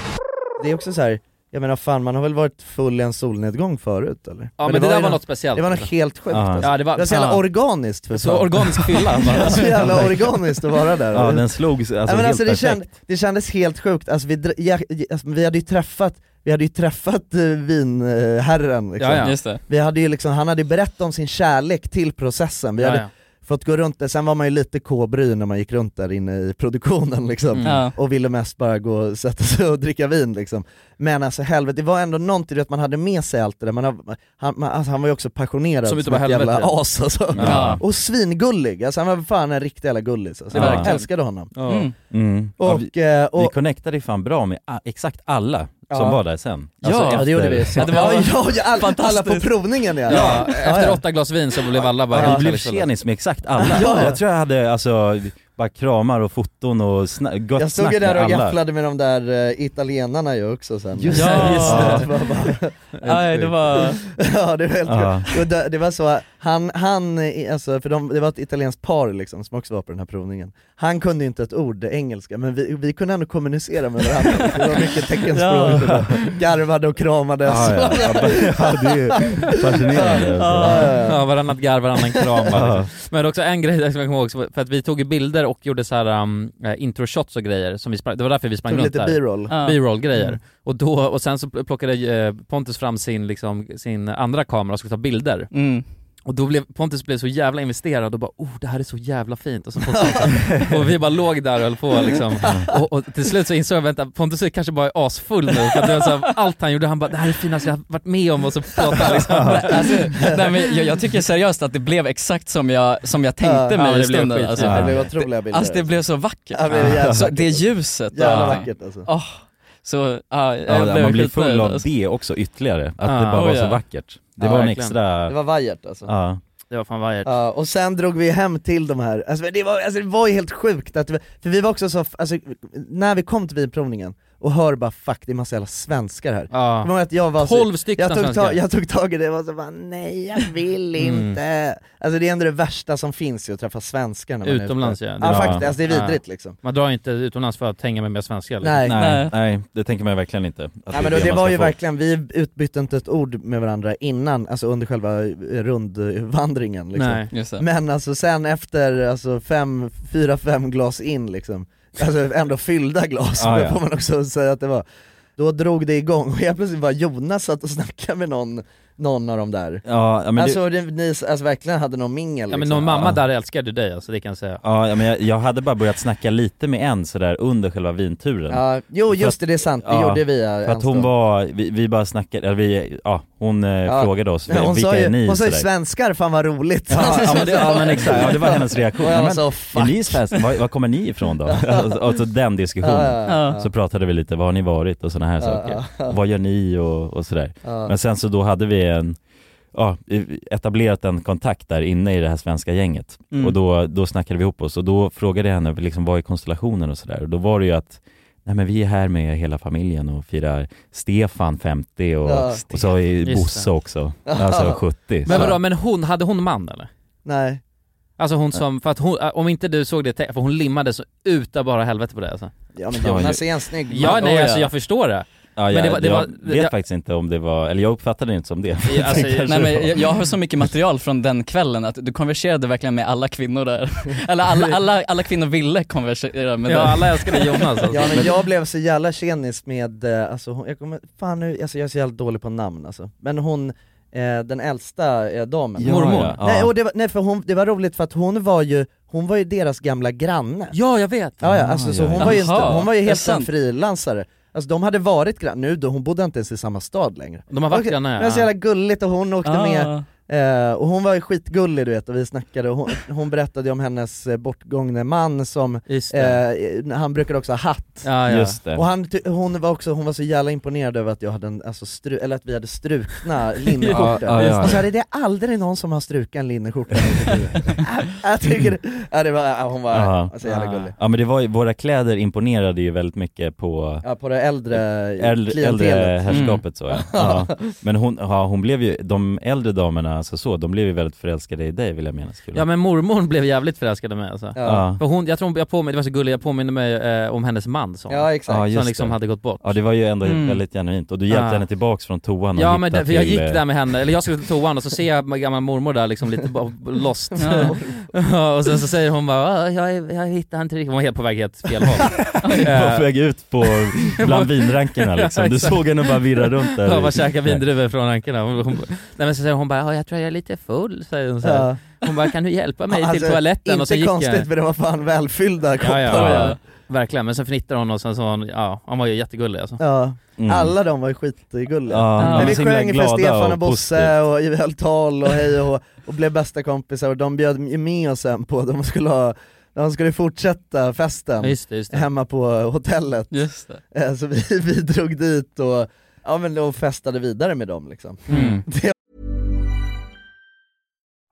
Det är också så här. jag menar fan man har väl varit full i en solnedgång förut eller?
Ja men, det,
ju
där var
någon-
något speciellt
Det var något helt sjukt alltså.
Ja, det, var,
var så jävla
Ja.
organiskt för
Så organisk fylla
bara.
bara.
Det var så jävla organiskt att vara där.
Ja, den slog sig, alltså,
Nej, men
helt
alltså det,
perfekt.
känd, det kändes helt sjukt, alltså vi, dr- jag, jag- alltså, vi hade ju träffat vi hade ju träffat eh, vinherren liksom.
Ja, ja. Just det.
Vi hade ju liksom, han hade ju berättat om sin kärlek till processen, vi
Ja,
hade
ja.
fått gå runt där, sen var man ju lite kåbry när man gick runt där inne i produktionen liksom,
Mm. Ja.
och ville mest bara gå och sätta sig och dricka vin liksom. Men alltså helvete, det var ändå någonting, du vet man hade med sig allt det där, man, har- han, man, alltså, han var ju också passionerad
Som
som,
utav
ett jävla
helvete.
as alltså.
Ja.
Och svingullig, alltså han var fan en riktig jävla gullis alltså.
Ja.
Jag älskade honom.
Ja. Mm.
Och,
Ja, vi,
eh, och-
vi connectade ju fan bra med a- exakt alla
Ja.
som var där sen. Alltså,
Alltså,
Ja, det gjorde vi.
efter-
Ja, det var- Ja, ja, ja, alla- alla på provningen, ja.
ja.
Ja,
Efter
ja.
åtta glas vin så blev alla bara
Ja,
helt
vi blev
kärleksfulla.
tjenis med exakt alla.
Ja.
Jag tror jag hade alltså, bara kramar och foton och sna- gott
Jag stod
snack
ju där
med
och
alla.
gafflade med de där eh, italienarna ju också sen
Just det, Ja. just det.
var bara-
Nej, det var-
Ja det var helt
Ja.
sjukt. Och det, det var så, han, han eh, alltså, för de, det var ett italienskt par liksom som också var på den här provningen Han kunde ju inte ett ord engelska men vi, vi kunde ändå kommunicera med varandra, det var mycket teckenspråk
Ja.
och bara garvade och kramades
Ja, ja. Ja, det är fascinerande,
Ja,
alltså.
ja, ja. ja varannat garv, varannan kram bara.
Ja.
Men också en grej som jag kommer ihåg, också, för att vi tog ju bilder och gjorde så här um, eh, introshots och grejer, som vi sprang, det var därför vi sprang
Tog
runt där.
lite B-roll. Ja.
B-roll grejer.
Mm.
Och, då, och sen så plockade eh, Pontus fram sin, liksom, sin andra kamera och skulle ta bilder.
Mm.
Och då blev Pontus blev så jävla investerad och bara oh det här är så jävla fint och, så Pontus, och vi bara låg där och höll på liksom. och, och till slut så insåg jag vänta Pontus är kanske bara är asfull nu för att det var så här, allt han gjorde han bara det här är det finaste jag har varit med om och så pratade han liksom.
alltså, nej, men jag, jag tycker seriöst att det blev exakt som jag, som jag
Ja,
tänkte
men
mig i
det blev
stunden.
skit.
Alltså,
Ja, det blev otroliga bilder.
Alltså det blev så vackert.
Ja, det blev jävligt
så,
vackert.
det ljuset och
Jävla
allting.
vackert, alltså.
Åh, så, ja, jag
Ja,
blev
man blev
skitnöjd,
full av
alltså.
det också ytterligare, att
Ja.
det bara
Oh,
var
ja.
så vackert. Det
Ja,
var en
verkligen.
extra...
Det var vajert alltså
Ja.
Det var fan vajert.
Ja, och sen drog vi hem till de här, alltså det var, alltså, det var ju helt sjukt att, vi- för vi var också så, alltså, när vi kom till vinprovningen och hör bara 'fuck, det är massa jävla svenskar här'
Ja.
Kommer du ihåg att jag var så-
12 stycken
jag tog,
svenskar.
tag, jag tog tag i det och var så bara 'nej jag vill
Mm.
inte' Alltså det är ändå det värsta som finns ju, att träffa svenskar när man är
Utomlands
ute.
ja.
Ja faktiskt, alltså det är vidrigt liksom
Man drar ju inte utomlands för att hänga med mer svenskar liksom.
Nej.
Nej, nej, det tänker man ju verkligen inte. att
Ja, men
Alltså, är
det, det
man
var
ska
ju
få.
verkligen, vi utbytte inte ett ord med varandra innan, alltså under själva eh, rundvandringen liksom.
Nej, just det.
Men alltså sen efter alltså fem, fyra, fem glas in liksom, alltså ändå fyllda glas,
Ah,
det
ja.
får man också säga att det var Då drog det igång och jag plötsligt var Jonas satt och snackade med någon, någon av dem där
Ja, ja, men det-
Alltså det... ni alltså, verkligen hade någon mingel
Ja men
liksom.
någon mamma där älskade dig alltså, det kan jag säga.
Ja, ja, men jag, jag hade bara börjat snacka lite med en sådär under själva vinturen.
Ja, jo
För
just det, det är sant, det gjorde vi ja,
För
en
att hon
stund.
var, vi, vi bara snackade, eller vi, ja, hon eh,
Ja.
frågade oss,
Nej, hon
vilka
sa ju,
är ni?
Hon sa ju
sådär.
svenskar, fan vad roligt
Ja, ja, men det, ja men exakt, ja, det var hennes reaktion.
Och
Nej,
jag var
men,
så,
är
fuck
ni svenskar? Var, var kommer ni ifrån då? Alltså, alltså den diskussionen.
Ja, ja, ja.
Så pratade vi lite, var har ni varit och sådana
Ja,
här saker.
ja, ja.
Vad gör ni och, och sådär.
Ja.
Men sen så då hade vi en, ja, etablerat en kontakt där inne i det här svenska gänget.
Mm.
Och då, då snackade vi ihop oss och då frågade jag henne liksom, vad är konstellationen och sådär. Och då var det ju att Nej men vi är här med hela familjen och firar Stefan 50 och,
Ja.
och så är
Just
Bosse
det.
också, alltså 70
Men
så.
vadå, men hon, hade hon man eller?
Nej
Alltså hon som, för att hon, om inte du såg det, te- för hon limmade så utav bara helvete på det alltså.
Ja men Jonas är en snygg man.
Ja nej alltså jag förstår det.
Ja,
men
jag,
det var, det
jag
var,
vet
jag,
faktiskt inte om det var, eller jag uppfattade det inte som det.
Ja, alltså,
Kanske
nej, men
det var.
jag, jag har så mycket material från den kvällen att du konverserade verkligen med alla kvinnor där. Eller alla, alla, alla kvinnor ville konversera med dig.
alltså.
Ja men jag blev så jävla tjenis med, eh, alltså hon, jag kommer, fan nu, alltså jag är så jävla dålig på namn alltså. Men hon, eh, den äldsta eh, damen.
Ja, Mormor. ja, ja.
Nej, och det var, nej för hon, det var roligt för att hon var ju, hon var ju deras gamla granne.
Ja jag vet!
Ja ja, alltså så
ja,
hon
ja.
var ju, en
Jaha,
stu- hon var ju
är
helt
det
en
sant?
frilansare. Alltså de hade varit grannar, nu då, hon bodde inte ens i samma stad längre.
De har varit
Okej,
grannar,
Det var så
ja.
jävla gulligt och hon åkte
Ah.
med Eh, och hon var ju skitgullig du vet, och vi snackade och hon, hon berättade ju om hennes eh, bortgångne man som, eh, han brukade också ha hatt.
Ja, ja. Just det.
Och han, ty- hon, var också, hon var så jävla imponerad över att jag hade en, alltså stru, eller att vi hade strukna linneskjortor.
Ja, ja, ja.
Och så hade det är aldrig någon som har strukat en linneskjorta. jag, jag tycker, ja, det var, ja, hon var så jävla gullig.
Ja men det var ju, våra kläder imponerade ju väldigt mycket på
Ja, på det äldre
äldre, äldre
klientelet.
herrskapet
Mm.
så ja. ja. Men hon, ja, hon blev ju, de äldre damerna alltså så, de blev ju väldigt förälskade i dig vill jag mena skulle
Ja men mormor blev jävligt förälskad av mig alltså.
Ja.
För hon, jag tror hon- jag påminner, det var så gulligt, jag påminner mig eh, om hennes man som,
Ja, exakt.
som
just
liksom
det.
hade gått bort.
Ja det var ju ändå
Mm.
väldigt genuint och du hjälpte
Ja.
henne tillbaks från toan och
Ja men
hitta
det, för jag
till,
gick
eh,
där med henne, eller jag skulle till toan och så ser jag min gamla mormor där liksom lite bara lost. Ja. och sen så säger hon bara "Ah, jag, är- jag hittar inte riktigt, hon var helt på väg helt fel håll.
på väg ut på, bland vinrankorna liksom. Du
exakt.
såg henne bara virra runt där.
Ja, bara käka vindruvor från rankorna. Hon, hon, nej men så säger hon bara, "Ja, jag tror jag är lite full, säger hon så här.
Ja.
Hon bara, kan du hjälpa mig
Alltså,
till toaletten?
Inte
Och så gick
konstigt
jag.
för det var fan välfyllda koppar.
Ja, ja, ja. Verkligen, men sen fnittrade hon och sen så var hon, ja, hon var ju jättegullig alltså.
Ja.
Mm.
Alla de var ju skitgulliga.
Ja, de var
Men vi
så himla
sjöng för
glada
Stefan och
och
Bosse och vi höll tal och hej och hå, och blev bästa kompisar och de bjöd ju med oss sen på, de skulle ha de skulle fortsätta festen
Just det, just det.
hemma på hotellet.
Just det.
Eh, Så vi, vi drog dit och, ja, men då festade vidare med dem liksom.
Mm.
Det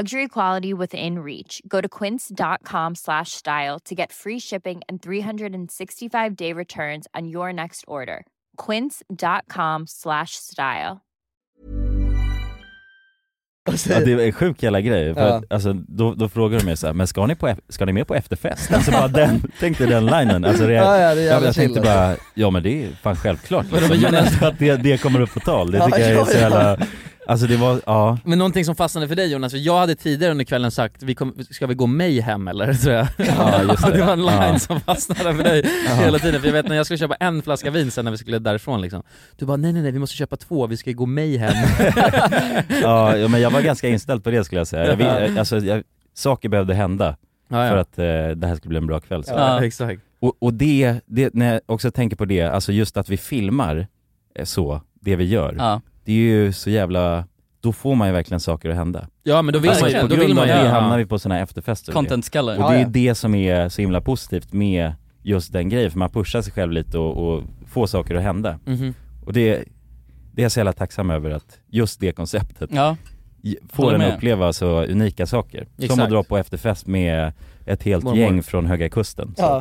Luxury quality within reach. Go to quince.com slash style to get free shipping and 365 day returns on your next order. Quince.com slash style.
Ja, det är en sjuk jävla grej, för
Ja.
att, alltså, då, då frågar de mig såhär, men ska ni, på, ef- ska ni med på efterfest? Alltså bara den, tänkte den linen, alltså det,
Ja, ja, det är
jag,
jävla
jag tänkte
chill,
bara,
alltså.
ja men det är fan självklart
Men de är
liksom. men
Jonas-
alltså, att det, det kommer upp på tal, det
Ja,
tycker jag
ja,
är så
ja.
jävla, alltså det var, ja
Men någonting som fastnade för dig Jonas, för jag hade tidigare under kvällen sagt, vi kom, ska vi gå mig hem eller? Tror jag.
Ja, just
Och det
det.
var en line
Ja.
som fastnade för dig
Ja.
hela tiden, för jag vet när jag skulle köpa en flaska vin sen när vi skulle därifrån liksom, du bara nej nej nej vi måste köpa två, vi ska ju gå mig hem.
ja, ja, men jag var ganska inställd på det skulle jag säga. Jag, vill-
Ja.
alltså, jag, saker behövde hända
Ja, ja.
för att eh, det här skulle bli en bra kväll. Så.
Ja, exakt.
Och, och det, det, när jag också tänker på det, alltså just att vi filmar eh, så, det vi gör,
Ja.
det är ju så jävla, då får man ju verkligen saker att hända. Alltså,
Ja, men då vill man ju-
på
då vill
grund
man
av
ju-
det
ja.
hamnar vi på sådana här efterfester. och det.
Contentskallar.
Och det är
Ja,
ju det som är så himla positivt med just den grejen, för man pushar sig själv lite och, och får saker att hända.
Mhm.
Och det, det är jag så jävla tacksam över att just det konceptet
Ja.
ge-
Håller
får en
med.
uppleva så unika saker. Som
Exakt.
att dra på efterfest med ett helt
Mormor.
gäng från Höga Kusten. Så.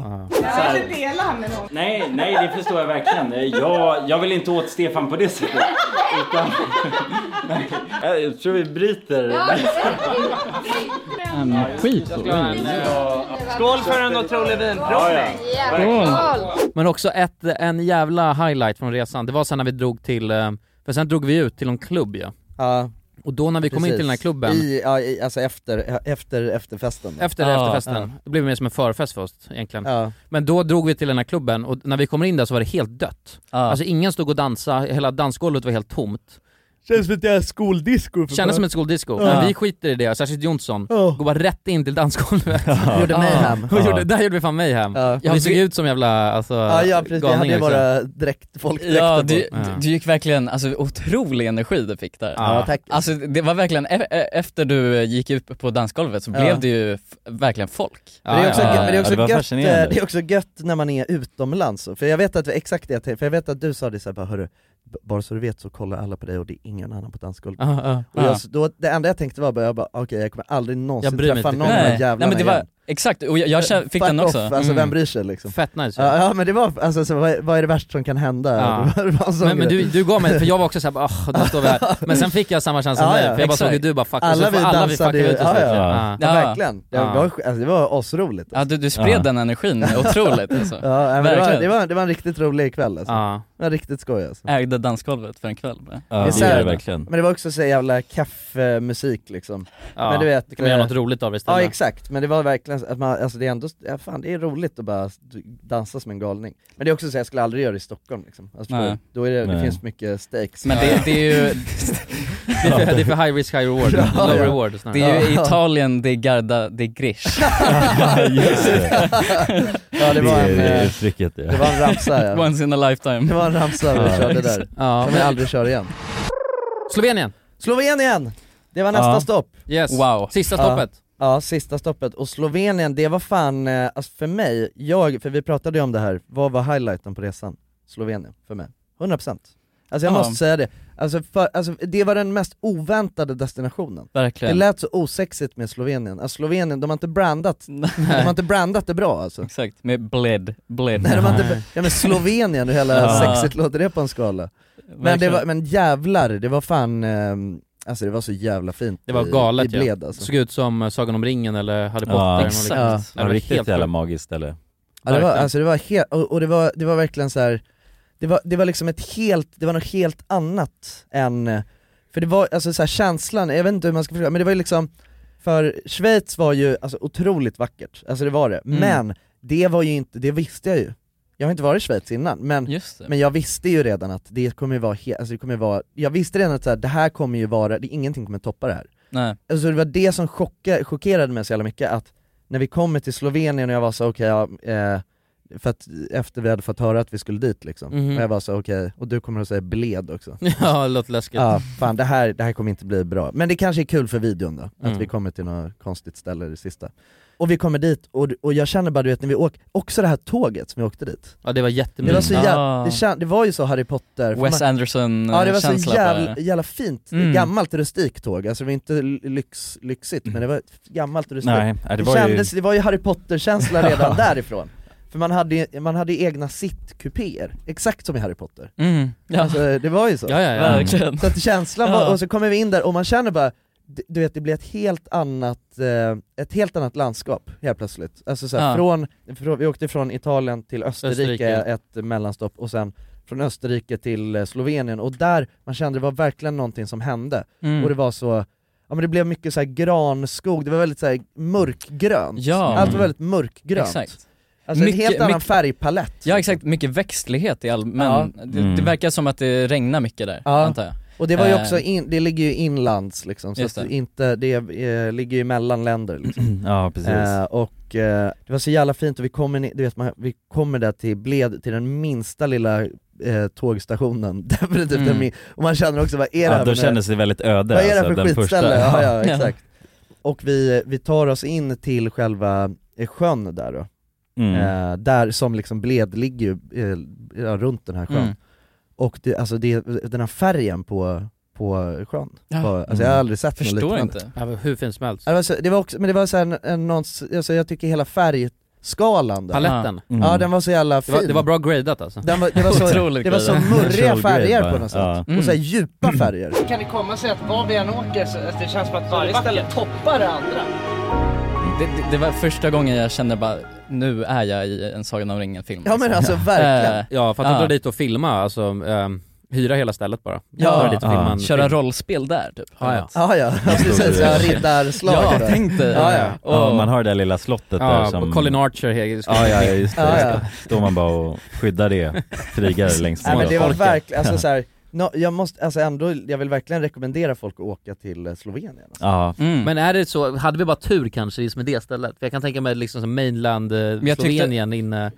Nej, nej det förstår jag verkligen. Eh, Jag, jag vill inte åt Stefan på det sättet. Utan, nej, jag tror vi bryter.
Skit
eh,
Skål för en otrolig vinprovning!
Men också ett, en jävla highlight från resan, det var sen när vi drog till, eh, för sen drog vi ut till en klubb ja.
Ja.
Och då när vi kom in till den här klubben
I, ja, i, alltså efter, efter, efter festen.
Efter efterfesten, det blev mer som en förfest för oss egentligen.
Ja.
Men då drog vi till den här klubben och när vi kommer in där så var det helt dött. Alltså ingen stod och dansade, hela dansgolvet var helt tomt.
Känns som ett jävla skoldisco.
Kändes som ett skoldisco,
Ja.
men vi skiter i det, särskilt Jonsson. Går bara rätt in till dansgolvet.
Gjorde mayhem.
Och
Oh. Ja.
gjorde, där gjorde vi fan mayhem.
Ja,
Vi såg
vi-
ut som jävla alltså,
Ja, ja precis, vi hade
galningar,
ju
liksom.
våra dräkt, folkdräkter
Ja,
på.
du, du gick verkligen, alltså otrolig energi du fick där.
Ja, tack.
Alltså det var verkligen, e- e- efter du gick ut på dansgolvet så
Ja.
blev det ju f- verkligen folk.
Men det är också, men det är också, gött, eh, det är också gött när man är utomlands, för jag vet att, exakt det, för jag vet att du sa det såhär bara hörru, b- bara så du vet så kollar alla på dig och det är ingen annan på dansgolvet.
Ja, ja,
och jag,
ja.
så- då, det enda jag tänkte var bara, jag bara okej jag kommer aldrig någonsin
Jag bryr mig
träffa
inte.
någon av de
Nej.
här jävlarna
Nej, men det var-
igen.
exakt, och jag- jag känner- fick
Fuck
den också.
Off, alltså
Mm.
vem bryr sig liksom?
Fett nice.
Ja, ja men det var, alltså så, vad, vad är det värsta som kan hända? Det var- det var en sån
Men, men
grej.
du, du gav mig, för jag var också såhär bara, "Ah, nu står vi här. Men sen fick jag samma känsla som
Ja,
dig,
ja,
för jag bara såg
exakt.
hur du bara fuck, och
alla
så
vi
får alla vi
dansade
fuckade
ju-
ut oss liksom.
ja,
lite.
ja. Ja.
Ja.
verkligen, det var, alltså, det var asroligt
Ja du, du spred
Ja.
den energin, otroligt alltså.
ja, men det, var,
Verkligen.
det, var, det var en riktigt rolig kväll alltså.
ja.
Det var riktigt skoj alltså.
Ägde dansgolvet för en kväll. bara.
är så här- Men det var också så jävla kaffemusik liksom.
Ja,
men du vet,
det kan man göra
eh,
något roligt av istället.
Ja exakt, men det var verkligen verkligen, att man, alltså det är ändå, ja, fan det är roligt att bara dansa som en galning. Men det är också så jag skulle aldrig göra det i Stockholm liksom. alltså,
Nej.
förstår du? Då är det, det
Nej.
finns mycket stakes.
Men det, det är ju...
Det är för- det är för high risk, high reward.
Ja.
Low reward snarare.
Det är ju i
Ja.
Italien, det är Garda, det är Grish.
Just det. Ja, det var en, eh, det var en ramsa, ja.
Once in a lifetime.
Det var en ramsa vi körde där.
Ja,
Som vi
men- eh,
aldrig kör igen.
Slovenien!
Slovenien! Det var nästa
Ja.
stopp.
Yes. Wow. Sista stoppet.
Ja, ja, sista stoppet. Och Slovenien, det var fan, eh, alltså för mig, jag, för vi pratade ju om det här, vad var highlighten på resan? Slovenien, för mig. 100%. Alltså jag
Ja.
måste säga det. Alltså, för, alltså det var den mest oväntade destinationen.
Verkligen.
Det lät så osexigt med Slovenien. Alltså Slovenien, de har inte brandat, de har inte brandat det bra alltså.
Exakt, med bled, bled.
Nej, de har inte, ja men Slovenien, hur hela
Ja.
sexigt låter det på en skala? Men, det
Verkligen.
var, men jävlar, det var fan, ehm, alltså det var så jävla fint
Det var
i-
galet
i Bled alltså.
Såg ut som eh, Sagan om ringen eller Harry Potter.
Ja,
eller
exakt.
något liknande.
Ja.
Det var
Riktigt
helt
jävla
sjukt.
magiskt eller?
Ja, det var,
Verkligen.
alltså det var helt, och, och det, var, det var verkligen så här. Det var, det var liksom ett helt, det var något helt annat än, för det var alltså så här, känslan, jag vet inte hur man ska förklara, men det var ju liksom, för Schweiz var ju alltså, otroligt vackert, alltså det var det,
Mm.
men det var ju inte, det visste jag ju. Jag har inte varit i Schweiz innan, men, men jag visste ju redan att det kommer ju vara, he- alltså det kommer ju vara, jag visste redan att så här, det här kommer ju vara, det, ingenting kommer toppa det här.
Nej.
Alltså det var det som chocka, chockerade mig så jävla mycket, att när vi kommer till Slovenien och jag var så okej, ja, eh, för att efter vi hade fått höra att vi skulle dit liksom,
Mhm.
och jag var så okej, och du kommer att säga bled också.
Ja, det låter läskigt.
Ja, fan det här, det här kommer inte bli bra. Men det kanske är kul för videon då, att
Mm.
vi kommer till något konstigt ställe det sista. Och vi kommer dit, och, och jag känner bara du vet när vi åker, också det här tåget som vi åkte
Ja
dit.
det var
Det var,
jättemysigt.
så jävla, det, kän, det var ju så Harry Potter för
Wes
man-
Ah. Anderson eh,
Ja det var så
känsla på det
jävla,
där.
jävla fint,
Mm.
gammalt rustikt tåg, alltså det var inte lyx, lyxigt men det var ett gammalt rustikt
Nej, nej,
det,
det var ju-
kändes, det var ju Harry Potter-känsla redan därifrån För man hade, ju- man hade ju egna sittkupéer, exakt som i Harry Potter
Mm, ja.
alltså, det var ju så
Ja, ja, ja. Verkligen.
Så att känslan
Ja.
var, och så kommer vi in där och man känner bara d- du vet, det blir ett helt annat, eh, ett helt annat landskap helt plötsligt. Alltså så här,
Ja.
från, från, vi åkte från Italien till Österrike,
Österrike.
ett mellanstopp, och sen från Österrike till eh, Slovenien, och där man kände det var verkligen någonting som hände.
Mm.
Och det var så, ja men det blev mycket så här granskog, det var väldigt så här mörkgrönt.
Ja. Mm.
Allt var väldigt mörkgrönt.
Exakt.
Alltså en helt annan
mycket-
färgpalett.
Ja exakt, mycket växtlighet i allmän...
Ja.
Det, det
Mm.
verkar som att det regnar mycket där,
Ja.
antar jag.
Och det var ju
Eh,
också, in, det ligger ju inlands liksom, så
Just
att
det.
det. Inte, det eh, ligger ju mellan länder liksom.
Ja, precis.
Eh, och eh, det var så jävla fint och vi kommer, ni- du vet, man, vi kommer där till Bled, till den minsta lilla eh, tågstationen, definitivt den
Mm.
min- och man känner också vad är det
Ja,
här
då
för-
kändes det väldigt öde,
Vad är det här
alltså,
för
den
skitställe?
första.
Ja, ja,
Ja.
exakt. Och vi, vi tar oss in till själva eh, sjön där då,
Mm.
eh, där som liksom Bled ligger ju eh, ja, runt den här sjön.
Mm.
Och det, alltså det, den här färgen på, på sjön,
Ja.
var, alltså jag har aldrig sett något
Mm. Förstår
liknande.
inte. Ja, men hur fint som helst.
Ja, Det var, så, det var också, men det var så här, en, en, någon, alltså jag tycker hela färgskalan där.
Paletten.
mm.
Ja, den var så jävla
Mm. Det
fin.
var, det var bra gradat alltså.
Den var, det var så, det var så murriga färger på något sätt, och
Mm.
så här djupa färger.
Kan det komma sig att var vi än åker så det känns som att varje ställe toppar det andra?
Det, det, det var första gången jag kände bara, nu är jag i en Sagan om ringen-film.
Ja, men alltså,
Eh,
verkligen.
Ja, för att de
ja.
drar dit och filma, alltså ehm, hyra hela stället bara.
Ja,
Dra dit och filma en
köra
film.
rollspel där typ.
Ja, ja.
Ja, Alltså, ja, precis, ja, riddarslag
Ja,
där.
tänk dig.
Ja, ja.
Ja, man har det där lilla slottet
Ja,
där
och
som...
Colin Archer he-
Ja, ja, just det.
Ja,
Just
ja.
det. Står man bara och skyddar det, krigare längst
Nej, men det var
Orkar.
verkligen, alltså så här, nå- jag måste, alltså ändå, jag vill verkligen rekommendera folk att åka till eh, Slovenien.
Ja.
Mm.
Men är det så, hade vi bara tur kanske just med det stället? För jag kan tänka mig liksom som mainland eh,
jag tyckte-
Slovenien inne...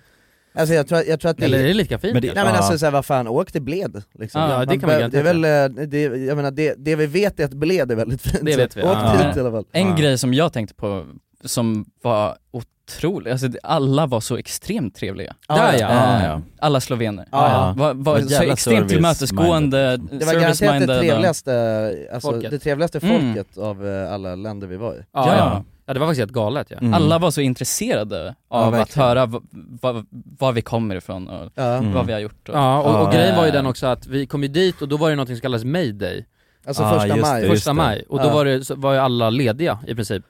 Alltså jag tror, jag tror att det
Eller är det lika fint?
Men det,
kanske?
Nej men alltså såhär, vad fan, åk till Bled liksom.
Ja, det
Man
kan man
behöver- det är
garanterat
väl, eh, det, jag menar, det, det vi vet är att Bled är väldigt fint,
Det
så
vet vi.
åk
Ja.
dit i alla fall.
En grej som jag tänkte på som var otrolig, alltså det- alla var så extremt trevliga.
Ja, Där, ja.
Eh,
Ja, ja.
Alla slovener.
Ja, ja.
Var, var
Vad
så
jävla
extremt tillmötesgående,
Det var garanterat det
service-minded och-
trevligaste, alltså,
Folket.
det trevligaste
Mm.
folket av eh, alla länder vi var i.
Ja, ja.
det var faktiskt helt galet ja.
Mm.
Alla var så intresserade av att
verkligen.
höra v- v- var vi kommer ifrån och
Mm.
vad vi har gjort.
Ja, och, och
Eh,
grejen var ju den också att vi kom ju dit och då var det någonting som kallades mayday
Alltså Ah, första just maj. det, just
Första
det.
maj, och då
Ja.
var, det, så var ju alla lediga i princip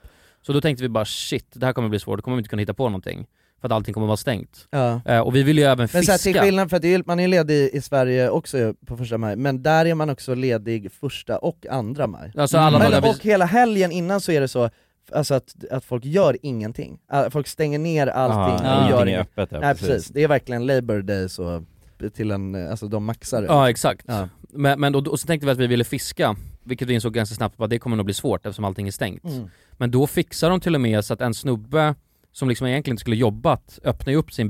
Så då tänkte vi bara shit, det här kommer bli svårt, då kommer vi inte kunna hitta på någonting För att allting kommer vara stängt
Ja.
Eh, Och vi ville ju även
Men så
fiska
här, till skillnad, för att det är, man är ju ledig i Sverige också ju på första maj, men där är man också ledig första och andra maj.
Alltså alla
Mm. men,
dagar vi-
och hela helgen innan så är det så, Alltså att, att folk gör ingenting. Att folk stänger ner allting
Ah,
och gör
ingenting är
ingenting.
öppet, ja,
Nej
precis.
precis. det är verkligen Labour Day så, till en, eh, alltså de maxar det.
Ja exakt.
Ja.
Men, men då, och så tänkte vi att vi ville fiska, vilket vi insåg ganska snabbt att det kommer nog bli svårt eftersom allting är stängt.
Mm.
Men då fixar de till och med så att en snubbe som liksom egentligen inte skulle jobbat öppnar ju upp sin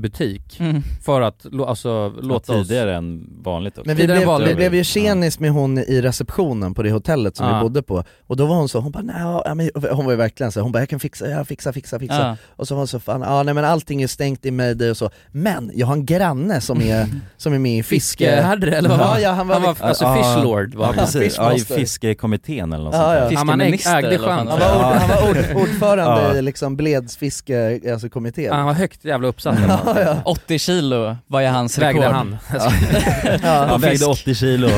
butik
Mm.
för att lå- alltså, låta oss...
tidigare än vanligt också.
Men vi blev, vi blev ju tjenis med hon i receptionen på det hotellet som
Ja.
vi bodde på, och då var hon så, hon bara nej, ja, men- hon var ju verkligen så, hon bara jag kan fixa, jag fixar, fixar, fixar.
Ja.
Och så var hon så, fan, ja, nej men allting är stängt i mig och så, men jag har en granne som är, som är med i fiske...
Fiskeherre, eller vad var
ja,
han?
ja, han var,
Han var- alltså fishlord, va?
Ja precis, ja, i
Fishmaster.
fiskekommittén eller något
Ja, ja.
sånt där.
Ja, man äg- ägde
chans.
Han var, ord, han var ord, ordförande
Ja.
i liksom bledsfiske, alltså kommittén.
Ja, han var högt jävla uppsatt.
80 kilo var ju hans
Vägde
rekord.
han.
Ja.
Han vägde
Fisk.
80 kilo,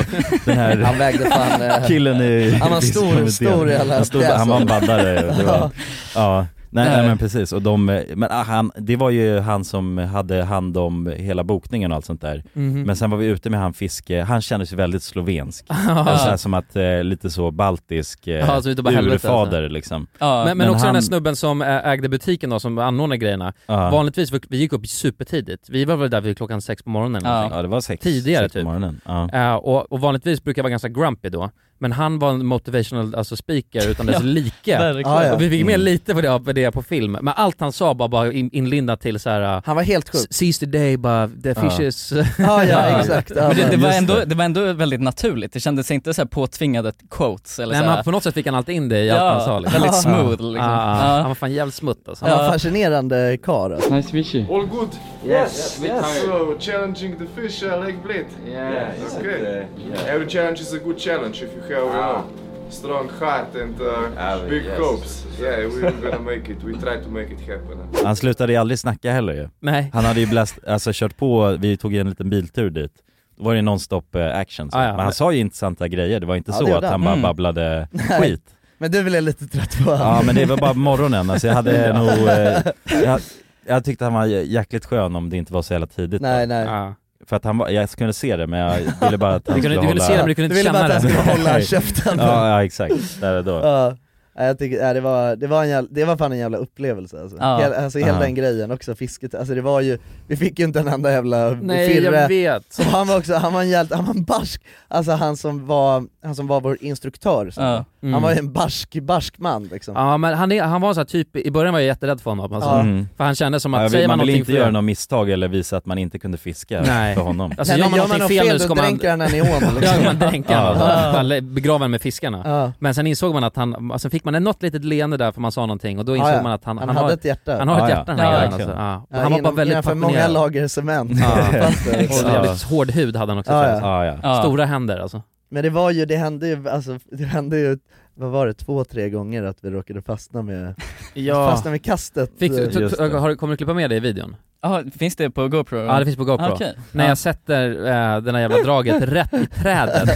den här
Han vägde fan, eh,
killen i
han var stor-
fiskkommittén.
stor i alla
han, stod,
pjäser.
han var en baddare, det var,
Ja.
ja. Nej, nej
Nej.
men precis, och de, eh, men ah, han, det var ju han som hade hand om hela bokningen och allt sånt där
Mhm.
Men sen var vi ute med han fiske, han kändes ju väldigt slovensk,
Ja.
Alltså så här som att eh, lite så baltisk eh,
Ja, så utav bara helvete,
urfader
alltså.
liksom
men, men, också den här
han-
snubben som ä- ägde butiken då, som anordnade grejerna.
Ja.
Vanligtvis, vi gick upp supertidigt. Vi var väl där vid klockan sex på morgonen eller
Ja.
någonting.
Ja, det var sex-
Tidigare
sex på
typ.
morgonen, ja.
Ä, och, och vanligtvis brukar jag vara ganska grumpy då. Men han var en motivational alltså speaker utan dess
Ja,
like.
verkligen. Ja, ja.
Och vi fick med
Mm.
lite på det, på det på film. Men allt han sa bara, bara in, inlindat till så här. eh,
Han var helt sjuk.
Seize the day, bara the fishes.
Men det, det, var ändå, det var ändå väldigt naturligt, det kändes inte så här påtvingade quotes eller
Nej
så här.
men på något sätt fick han allt in det i
Ja,
allt han sa liksom. Ah.
väldigt smooth, liksom.
Ja.
Ja.
Han var fan jävligt smutt alltså.
Han var en fascinerande karl alltså.
Nice to meet you.
All good?
Yes,
yes.
yes.
So, challenging the fish uh, like blade?
Yeah, it's
okay.
a- yeah.
Every challenge is a good challenge if you have
Ah.
you know, strong heart and uh,
Ah,
big
yes.
hopes. Yeah, we're gonna make it. We try to make it happen.
Han slutade ju aldrig snacka heller ju.
Nej.
Han hade ju blast, alltså kört på, vi tog ju en liten biltur dit. Då var det ju nonstop eh, action så.
Ah, ja.
Men han sa ju intressanta grejer, det var inte
Ja, det
så
gjorde
att han
han.
bara
Mm.
babblade
Nej.
skit.
Men du blev lite trött på honom.
Ja men det var bara på morgonen, alltså jag hade
Ja.
nog, eh, jag, jag tyckte han var jä- jäkligt skön om det inte var så jävla tidigt.
Nej,
då.
nej.
För att han var, jag kunde se det men jag ville bara att han
Du kunde-
skulle
du ville
hålla...
se det, men du kunde inte Du ville bara känna att han det. skulle hålla käften.
Ja, ja exakt, där och då.
Ja, Ja, jag tycker, ja, det, var, det, var en jävla, det var fan en jävla upplevelse alltså.
Ja.
Hela, alltså hela
Ja.
den grejen också, fisket, alltså det var ju, vi fick ju inte en enda jävla
Nej, jag vet.
Och han var också, han var en jävla, han var en barsk, alltså han som var, han som var vår instruktör, så.
Ja. Mm.
han var ju en barsk, barsk man liksom.
Ja men han, är, han var så här typ, i början var jag jätterädd för honom alltså.
Ja.
Mm.
För han kände som
Ja,
att,
jag vill-
säger man,
man vill
någonting
inte göra
fel-
något misstag eller visa att man inte kunde fiska
Nej.
för honom.
Alltså, gör man någonting fel, nu så
då
kommer han...
dränker han han i ån liksom.
Ja, man dränker
Ja.
honom. Eller begraver honom med fiskarna.
Ja.
Men sen insåg man att han, alltså fick man något litet leende där för man sa någonting och då insåg
Ja, ja.
man att han,
Han hade
har,
ett hjärta.
Han har
Ja,
ett
ja.
hjärta den här
Ja,
killen,
verkligen.
alltså. Ja.
Ja,
Han var bara
genom-
väldigt
genomför
passionerad.
många lager cement. liksom.
Ja.
Fast det-
Och
Ja.
jävligt hård hud hade han också.
Ja,
känns det.
ja. Ja, ja.
Stora händer alltså.
Men det var ju, det hände ju, alltså, det hände ju, vad var det, två, tre gånger att vi råkade fastna med,
Ja.
fastna med kastet
Fick, t- t- har, kommer du klippa med det i videon?
Ja, Ah, finns det på GoPro?
Ja det finns på GoPro.
Ah, okej.
När
Ja.
jag sätter eh, den här jävla draget rätt i trädet,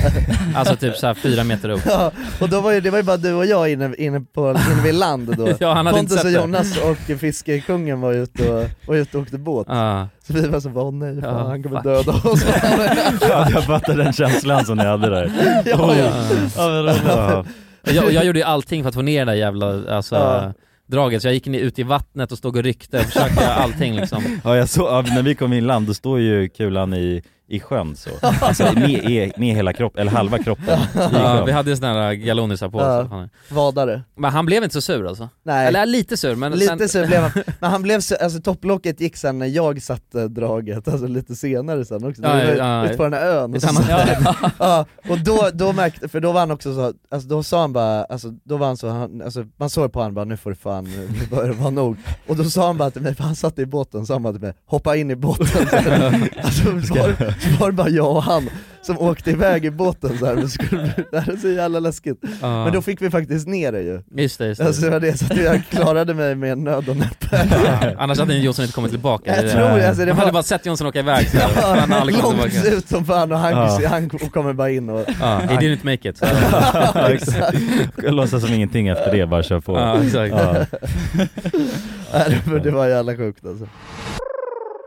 alltså typ såhär fyra meter upp.
Ja, och då var ju, det var ju bara du och jag inne, inne, på, inne vid land då.
Ja, han hade inte
Pontus
sett
och
det.
Jonas och fiskekungen var ute och, var ute och åkte båt.
Ja.
Så vi var så bara, åh nej, fan,
Ja,
han kommer
fuck.
döda oss.
ja, jag fattar den känslan som ni hade där.
Ja, ja. Ja, men roligt.
Jag, och jag gjorde ju allting för att få ner det där jävla alltså,
Ja.
draget, så jag gick ner ut i vattnet och stod och ryckte och försökte göra allting liksom.
Ja, jag såg, ja, när vi kom inland då står ju kulan i, i sjön så. Alltså med, i- med hela kroppen, eller halva kroppen i
Ja,
sjön.
vi hade ju såna här galonisar på oss.
Ja. Vadare.
Men han blev inte så sur alltså?
Nej.
Eller lite sur men
lite
sen...
sur blev han, men han blev så, alltså topplocket gick sen när jag satte draget, alltså lite senare sen också,
Ja,
när vi
ja,
var
ja.
ute på den här ön. Och, så,
Ett annat-
ja, och då, då märkte, för då var han också så, alltså då sa han bara, alltså då var han så, han, alltså, man såg på honom bara nu får det fan, eh, nu börjar det vara nog. Och då sa han bara till mig, för han satt i båten, sa han bara till mig, hoppa in i båten. Så, här. alltså så var, det- så var det bara jag och han som åkte iväg i båten så här, men skulle, det här är så jävla läskigt.
Ja.
Men då fick vi faktiskt ner det ju.
Just det, just det.
Alltså det var det, så att jag klarade mig med nöd och näppe.
Annars hade Jonsson inte kommit tillbaka.
Jag tror det, alltså, det
Man hade
var-
bara sett Jonsson åka iväg så här, men han hade aldrig kommit
Långt
tillbaka.
ut som fan och han,
Ja.
han kommer bara in och...
Ja, he didn't make it.
Ja, exakt. Låtsas som ingenting efter det, bara kör på.
Ja, exakt.
Nej, det var- det var jävla sjukt alltså.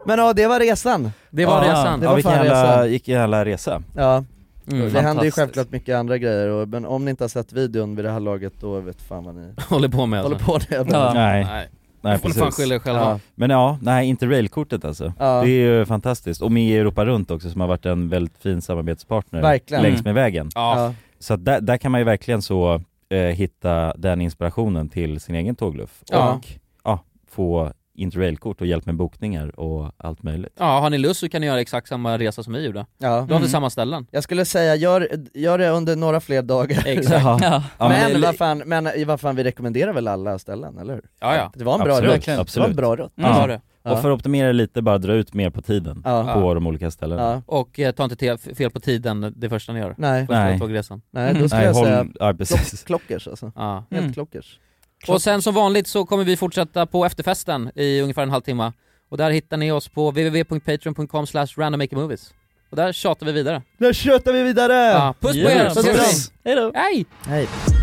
Men ja, det var resan.
Det var
Ja,
resan.
Det var
vilken
fan
jävla,
resan.
vilken jävla resa.
Ja.
Mm.
det händer ju
Fantastiskt.
självklart mycket andra grejer, och, men om ni inte har sett videon vid det här laget då vet fan vad ni
Håller på med
Håller
alltså.
på med.
Ja.
Nej.
Nej.
Nej.
Ni får
precis.
fan skylla er själva.
Ja. Men ja, nej inte railkortet alltså.
Ja.
Det är ju fantastiskt. Och med i Europa runt också som har varit en väldigt fin samarbetspartner
Verkligen.
längs
Mm.
med vägen.
Ja. Ja.
Så att där, där kan man ju verkligen så eh, hitta den inspirationen till sin egen tågluff.
Ja.
Och ja, få interrailkort och hjälp med bokningar och allt möjligt.
Ja, har ni lust så kan ni göra exakt samma resa som vi gjorde.
Ja.
Då har vi
Mm.
samma ställen.
Jag skulle säga, gör, gör det under några fler dagar
Exakt. Ja. Ja. Ja, men
Men,
det är li-
vad fan, men i vad fan, vi rekommenderar väl alla ställen, eller hur?
Ja, ja.
Det var en bra
Absolut,
rutt, det var en
absolut.
bra rutt
Mm.
Ja. Och för att optimera lite, bara dra ut mer på tiden
Ja.
på
Ja.
de olika ställena.
Och eh, ta inte te- fel på tiden det första ni gör.
Nej.
Första
Nej.
tågresan.
Nej då skulle jag
håll-
säga,
ja, precis.
klock, klockers alltså,
Ja.
helt
Mm.
klockers
Och sen som vanligt så kommer vi fortsätta på efterfesten i ungefär en halvtimme. Och där hittar ni oss på www.patreon.com randommakermovies. Och där tjatar vi vidare.
Nu tjötar vi vidare!
Ja, puss på er!
Puss och kram.
Hej då! Hej!
Hej!